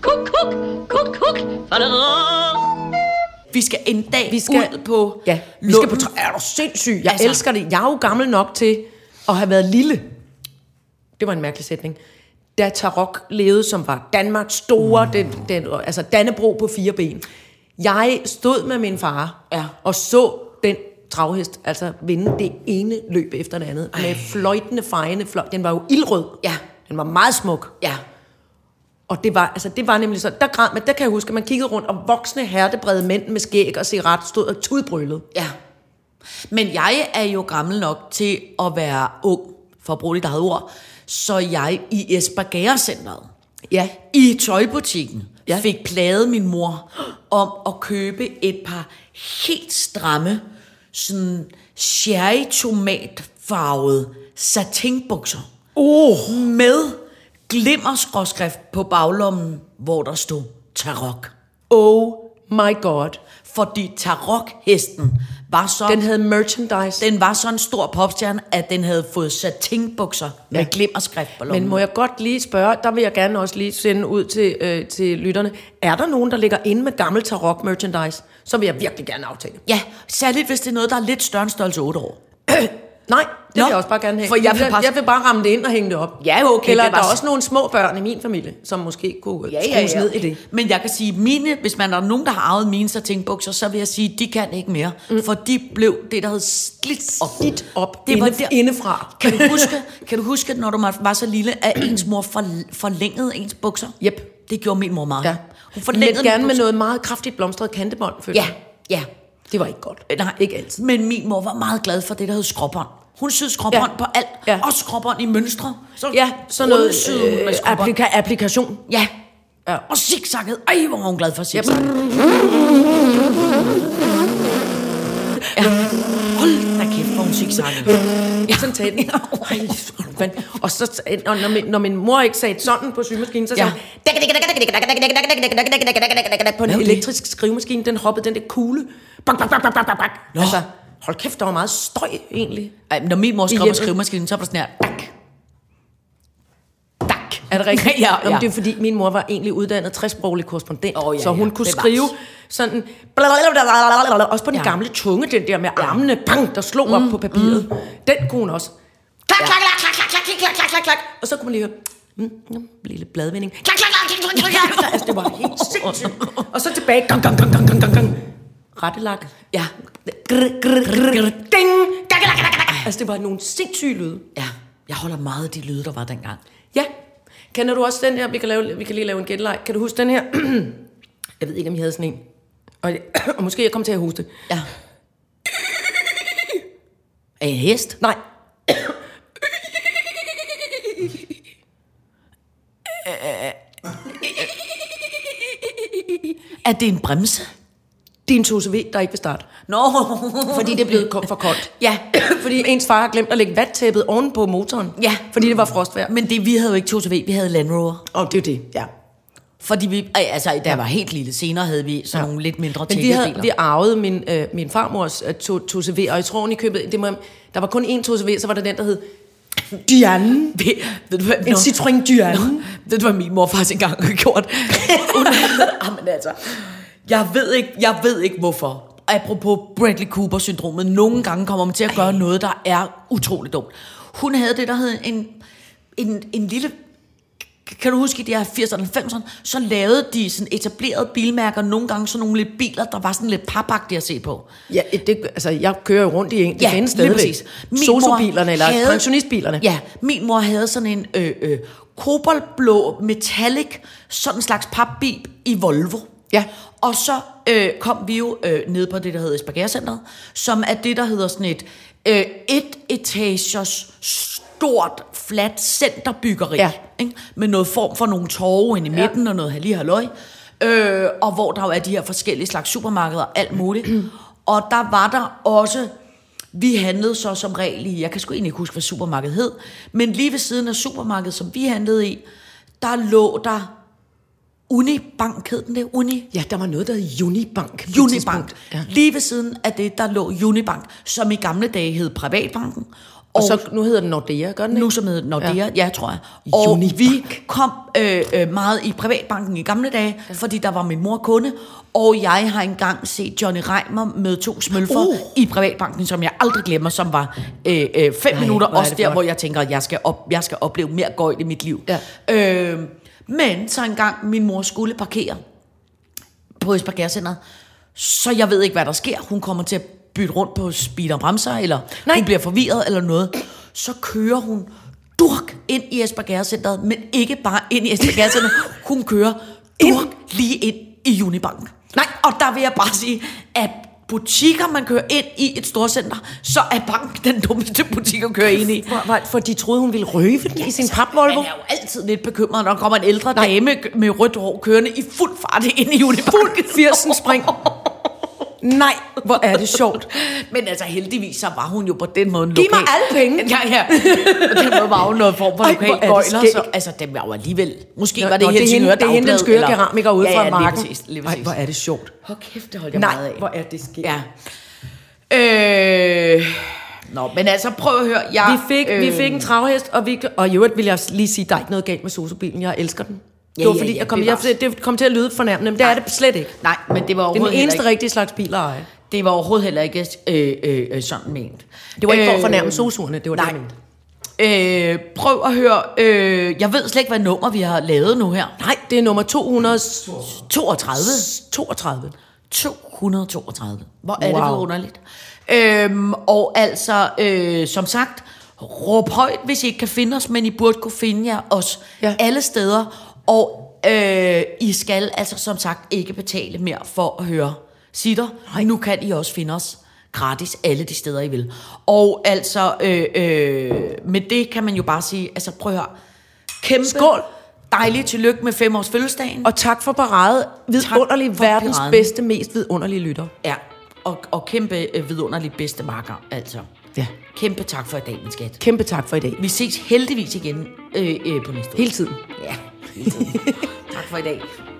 B: Cook, cook, cook, cook. Ba-da-da.
D: Vi skal en dag
C: Vi skal
D: ud på
C: Ja, vi skal på
D: Lunden.
C: tra- Er du sindssyg? Jeg altså.
D: Altså.
C: elsker det. Jeg er jo gammel nok til at have været lille. Det var en mærkelig sætning. Da Tarok levede, som var Danmarks store,
D: Mm.
C: den, den, altså Dannebro på fire ben. Jeg stod med min far
D: Ja.
C: og så den travhest, altså vinde det ene løb efter det andet, Ej. med fløjtende, fejende fløj. Den var jo ildrød.
D: Ja.
C: Den var meget smuk.
D: Ja.
C: Og det var, altså, det var nemlig så, der græd man, der kan jeg huske, at man kiggede rundt, og voksne hertebrede mænd med skæg og cigaret stod og tudbrølede.
D: Ja. Men jeg er jo gammel nok til at være ung. for at bruge dit eget ord, så jeg i Espargærcenteret,
C: Ja.
D: i tøjbutikken,
C: Ja.
D: ja. fik plaget min mor om at købe et par helt stramme, sådan sherry tomatfarvede satinbukser. Oh. Med glimmerskråskrift på baglommen, hvor der stod Tarok.
C: Oh my god.
D: Fordi Tarok-hesten var så...
C: Den havde merchandise.
D: Den var så en stor popstjerne, at den havde fået satinbukser ja. med glimmerskrift på lommen.
C: Men må jeg godt lige spørge, der vil jeg gerne også lige sende ud til, øh, til lytterne. Er der nogen, der ligger inde med gammel tarok merchandise? Så vil jeg virkelig gerne aftale.
D: Ja, særligt hvis det er noget, der er lidt større end størrelse 8 år.
C: Nej, det
D: Nå,
C: vil jeg også bare gerne have.
D: for jeg vil
C: jeg,
D: passe-
C: jeg vil bare ramme det ind og hænge det op.
D: Ja, okay,
C: Eller
D: det er
C: der
D: bare-
C: er også nogle små børn i min familie, som måske kunne ja, ja, ja. ned i det.
D: Men jeg kan sige, mine, hvis man er nogen, der har arvet mine satinbukser, så vil jeg sige, de kan ikke mere. Mm. For de blev det, der hed slidt op.
C: Slidt op
D: det var
C: inde-
D: der.
C: indefra.
D: Kan du huske, kan du huske at når du var så lille, at ens mor for, forlængede ens bukser?
C: Yep.
D: Det gjorde min mor meget.
C: Ja.
D: Hun
C: Men
D: forlængede
C: gerne
D: mine
C: med
D: bukser.
C: noget meget kraftigt blomstret kantebånd, føler
D: Ja,
C: jeg.
D: ja.
C: Det var ikke godt.
D: Øh, Nej,
C: Ikke altid.
D: Men min mor var meget glad for det, der hed skråbånd. Hun syede skråbånd
C: Ja.
D: på alt.
C: Ja.
D: Også skråbånd i mønstre. Så
C: Ja, sådan noget
D: rundsyede hun
C: øh,
D: med skråbånd.
C: applika- applikation.
D: Ja.
C: Ja.
D: Og zigzagget. Ej, hvor var hun glad for zigzagget. Ja. Hold da kæft, hvor hun zigzaggede.
C: Ja. Sådan talte den. Ej, hvor er du fanden. Og så, og når, min, når min mor ikke sagde sådan på symaskinen, så sagde
D: Ja.
C: hun, på en
D: Hvad var det?
C: elektrisk skrivemaskine, den hoppede den der kugle. Bak, bak, bak, bak, bak, bak, bak.
D: Nå.
C: Altså, hold kæft, der var meget støj egentlig.
D: Ej, når min mor
C: I
D: skrev på
C: hjemmet.
D: skrivemaskinen, så var det sådan her. Tak. Tak.
C: Er det rigtigt?
D: ja,
C: Nå,
D: ja.
C: men det er fordi, min mor var egentlig uddannet tresproglig korrespondent,
D: Åh, ja,
C: så hun
D: ja.
C: kunne
D: Bevares.
C: skrive sådan, blablabla, også på den
D: Ja.
C: gamle tunge, den der med armene, bang, der slog op på papiret. Den kunne hun også. Klak, klak, klak, klak, klak, klak, klak, klak, klak, klak. Og så kunne man lige høre, mm, mm, lille bladvending. Klak, klak, klak, klak, klak, klak, klak. Altså, det var helt sindssygt. Og så tilbage, gang, gang, gang, gang, gang, gang, gang. Rettelak.
D: Ja.
C: Grr, grr, grr, grr, ding. Gak, gak, gak, gak, gak. Altså, det var nogle sindssyge lyde.
D: Ja. Jeg holder meget af de lyde, der var dengang.
C: Ja. Kender du også den her? Vi kan, lave, vi kan lige lave en genleg. Kan du huske den her? jeg ved ikke, om I havde sådan en. Og, og måske jeg kom til at hoste.
D: Ja. Er I en hest?
C: Nej.
D: Er det en bremse?
C: Det er en 2CV, der ikke vil starte.
D: Nå,
C: Fordi det er blevet ko- for koldt.
D: Ja.
C: fordi ens far har glemt at lægge vattæppet oven på motoren.
D: Ja.
C: Fordi det var frostvejr.
D: Men det, vi havde jo ikke 2CV, vi havde Land Rover.
C: Og det er jo det, ja.
D: Fordi vi, ej, altså, da jeg var helt lille, senere havde vi sådan ja. nogle lidt mindre
C: Men vi,
D: tjekkede
C: havde,
D: biler.
C: vi arvede min, øh, min farmors øh, to, 2CV, og jeg tror, hun i købet, det må, jeg- der var kun én 2CV, så var der den, der hed Diane.
D: ved du hvad?
C: En
D: Nå.
C: Citroën Diane.
D: Ved du, hvad min mor faktisk engang har gjort? Hun havde- Jamen altså, jeg ved ikke, jeg ved ikke hvorfor. Apropos Bradley Cooper-syndromet, nogle gange kommer man til at gøre noget, der er utroligt dumt. Hun havde det, der hed en, en, en lille kan du huske, i de her 80'erne og 90'erne, så lavede de sådan etablerede bilmærker, nogle gange sådan nogle lidt biler, der var sådan lidt papagtige at se på.
C: Ja, det, altså, jeg kører jo rundt i en. Det ja,
D: Ja,
C: findes
D: lige
C: stadigvæk.
D: præcis. Min mor
C: Sosobilerne, eller
D: havde-
C: pensionistbilerne.
D: Ja, min mor havde sådan en øh, øh, koboldblå metallic, sådan en slags papbib i Volvo.
C: Ja.
D: Og så øh, kom vi jo øh, ned på det, der hedder Espargercenteret, som er det, der hedder sådan et øh, et etagers stort, fladt centerbyggeri.
C: Ja.
D: Ikke? Med noget form for nogle torve inde i midten, ja. og noget halli halløj. Øh, og hvor der jo er de her forskellige slags supermarkeder, alt muligt. og der var der også vi handlede så som regel i, jeg kan sgu egentlig ikke huske, hvad supermarkedet hed, men lige ved siden af supermarkedet, som vi handlede i, der lå der Unibank, hed den det? Uni?
C: ja, der var noget, der hed Unibank. på et
D: Unibank.
C: tidspunkt.
D: Ja.
C: Ja.
D: Lige ved siden af det, der lå Unibank, som i gamle dage hed Privatbanken.
C: Og
D: Og,
C: så, nu hedder den Nordea, gør den ikke?
D: nu som hedder Nordea, ja. ja, tror jeg. Og
C: Unibank.
D: vi kom øh, øh, meget i privatbanken i gamle dage, ja. fordi der var min mor kunde, og jeg har engang set Johnny Reimer med to smølfer
C: Uh.
D: uh. i privatbanken, som jeg aldrig glemmer, som var øh, øh, fem
C: Ej,
D: minutter,
C: hvor er
D: også
C: det
D: der,
C: flot.
D: hvor jeg tænker, at jeg skal, op, jeg skal opleve mere gøjt i mit liv.
C: Ja.
D: Øh, men så engang min mor skulle parkere på Espargercenteret, så jeg ved ikke, hvad der sker. Hun kommer til at bytte rundt på speed og bremser, eller Nej. hun bliver forvirret eller noget. Så kører hun durk ind i Espargercenteret, men ikke bare ind i Espargercenteret. hun kører durk lige ind i Unibank. Nej, og der vil jeg bare sige, at butikker, man kører ind i et storcenter, så er bank den dummeste butik at køre ind i.
C: For, for, for de troede, hun ville røve den i sin papvolvo.
D: Man er jo altid lidt bekymret, når der kommer en ældre Nej. dame med rødt hår kørende i fuld fart ind i Unibank.
C: Fuld 80'en spring. Nej, hvor er det sjovt.
D: Men altså heldigvis, så var hun jo på den måde en
C: Giv
D: lokal.
C: mig alle penge.
D: Ja, ja. På den måde var hun noget form for
C: Ej,
D: lokal
C: hvor er det
D: gøjler. Så,
C: skægt.
D: altså, den var jo alligevel... Måske
C: Nå,
D: var det
C: nå,
D: helt
C: det er hende, det er hende den skøre keramiker ude
D: ja,
C: fra
D: ja,
C: marken.
D: Lige præcis, lige
C: Ej,
D: præcis.
C: hvor er det sjovt.
D: Hvor kæft, det holdt jeg
C: Nej,
D: meget af.
C: hvor er det sket.
D: Ja. Øh... Nå, men altså prøv at høre. Jeg,
C: Vi fik, øh. vi fik en travhest, og, vi, og i øvrigt vil jeg lige sige, der er ikke noget galt med sosobilen. Jeg elsker den.
D: Ja,
C: det var
D: ja,
C: fordi,
D: ja,
C: jeg kom, jeg,
D: bevares.
C: det kom til at lyde fornærmende, men det er det slet ikke.
D: Nej, men det var
C: Det er den
D: overhovedet
C: eneste
D: heller ikke,
C: rigtige slags bil at eje.
D: det var overhovedet heller ikke øh, øh, øh, sådan ment.
C: Det var ikke for at
D: Øh,
C: fornærme sosuerne, det var det,
D: nej.
C: jeg mente.
D: Øh, prøv at høre. Øh, jeg ved slet ikke, hvad nummer vi har lavet nu her.
C: Nej, det er nummer 200...
D: 32.
C: 32.
D: 232. Hvor er wow. det
C: Wow.
D: forunderligt. Øhm, og altså, øh, som sagt, råb højt, hvis I ikke kan finde os, men I burde kunne finde jer os ja.
C: Ja.
D: alle steder. Og øh, I skal altså som sagt ikke betale mere for at høre sitter. Nej. Nu kan I også finde os gratis alle de steder, I vil. Og altså, øh, øh, med det kan man jo bare sige, altså prøv at høre, kæmpe
C: Skål.
D: dejligt tillykke med fem års fødselsdagen.
C: Og tak for parade. Vidunderlig,
D: for
C: verdens
D: paraden.
C: bedste, mest vidunderlige lytter.
D: Ja, og, og kæmpe øh, vidunderligt bedste marker, altså.
C: Ja.
D: Kæmpe tak for i dag, min skat.
C: Kæmpe tak for i dag.
D: Vi ses heldigvis igen øh, øh, på næste uge.
C: Hele tiden.
D: Ja, hele tiden. tak for i dag.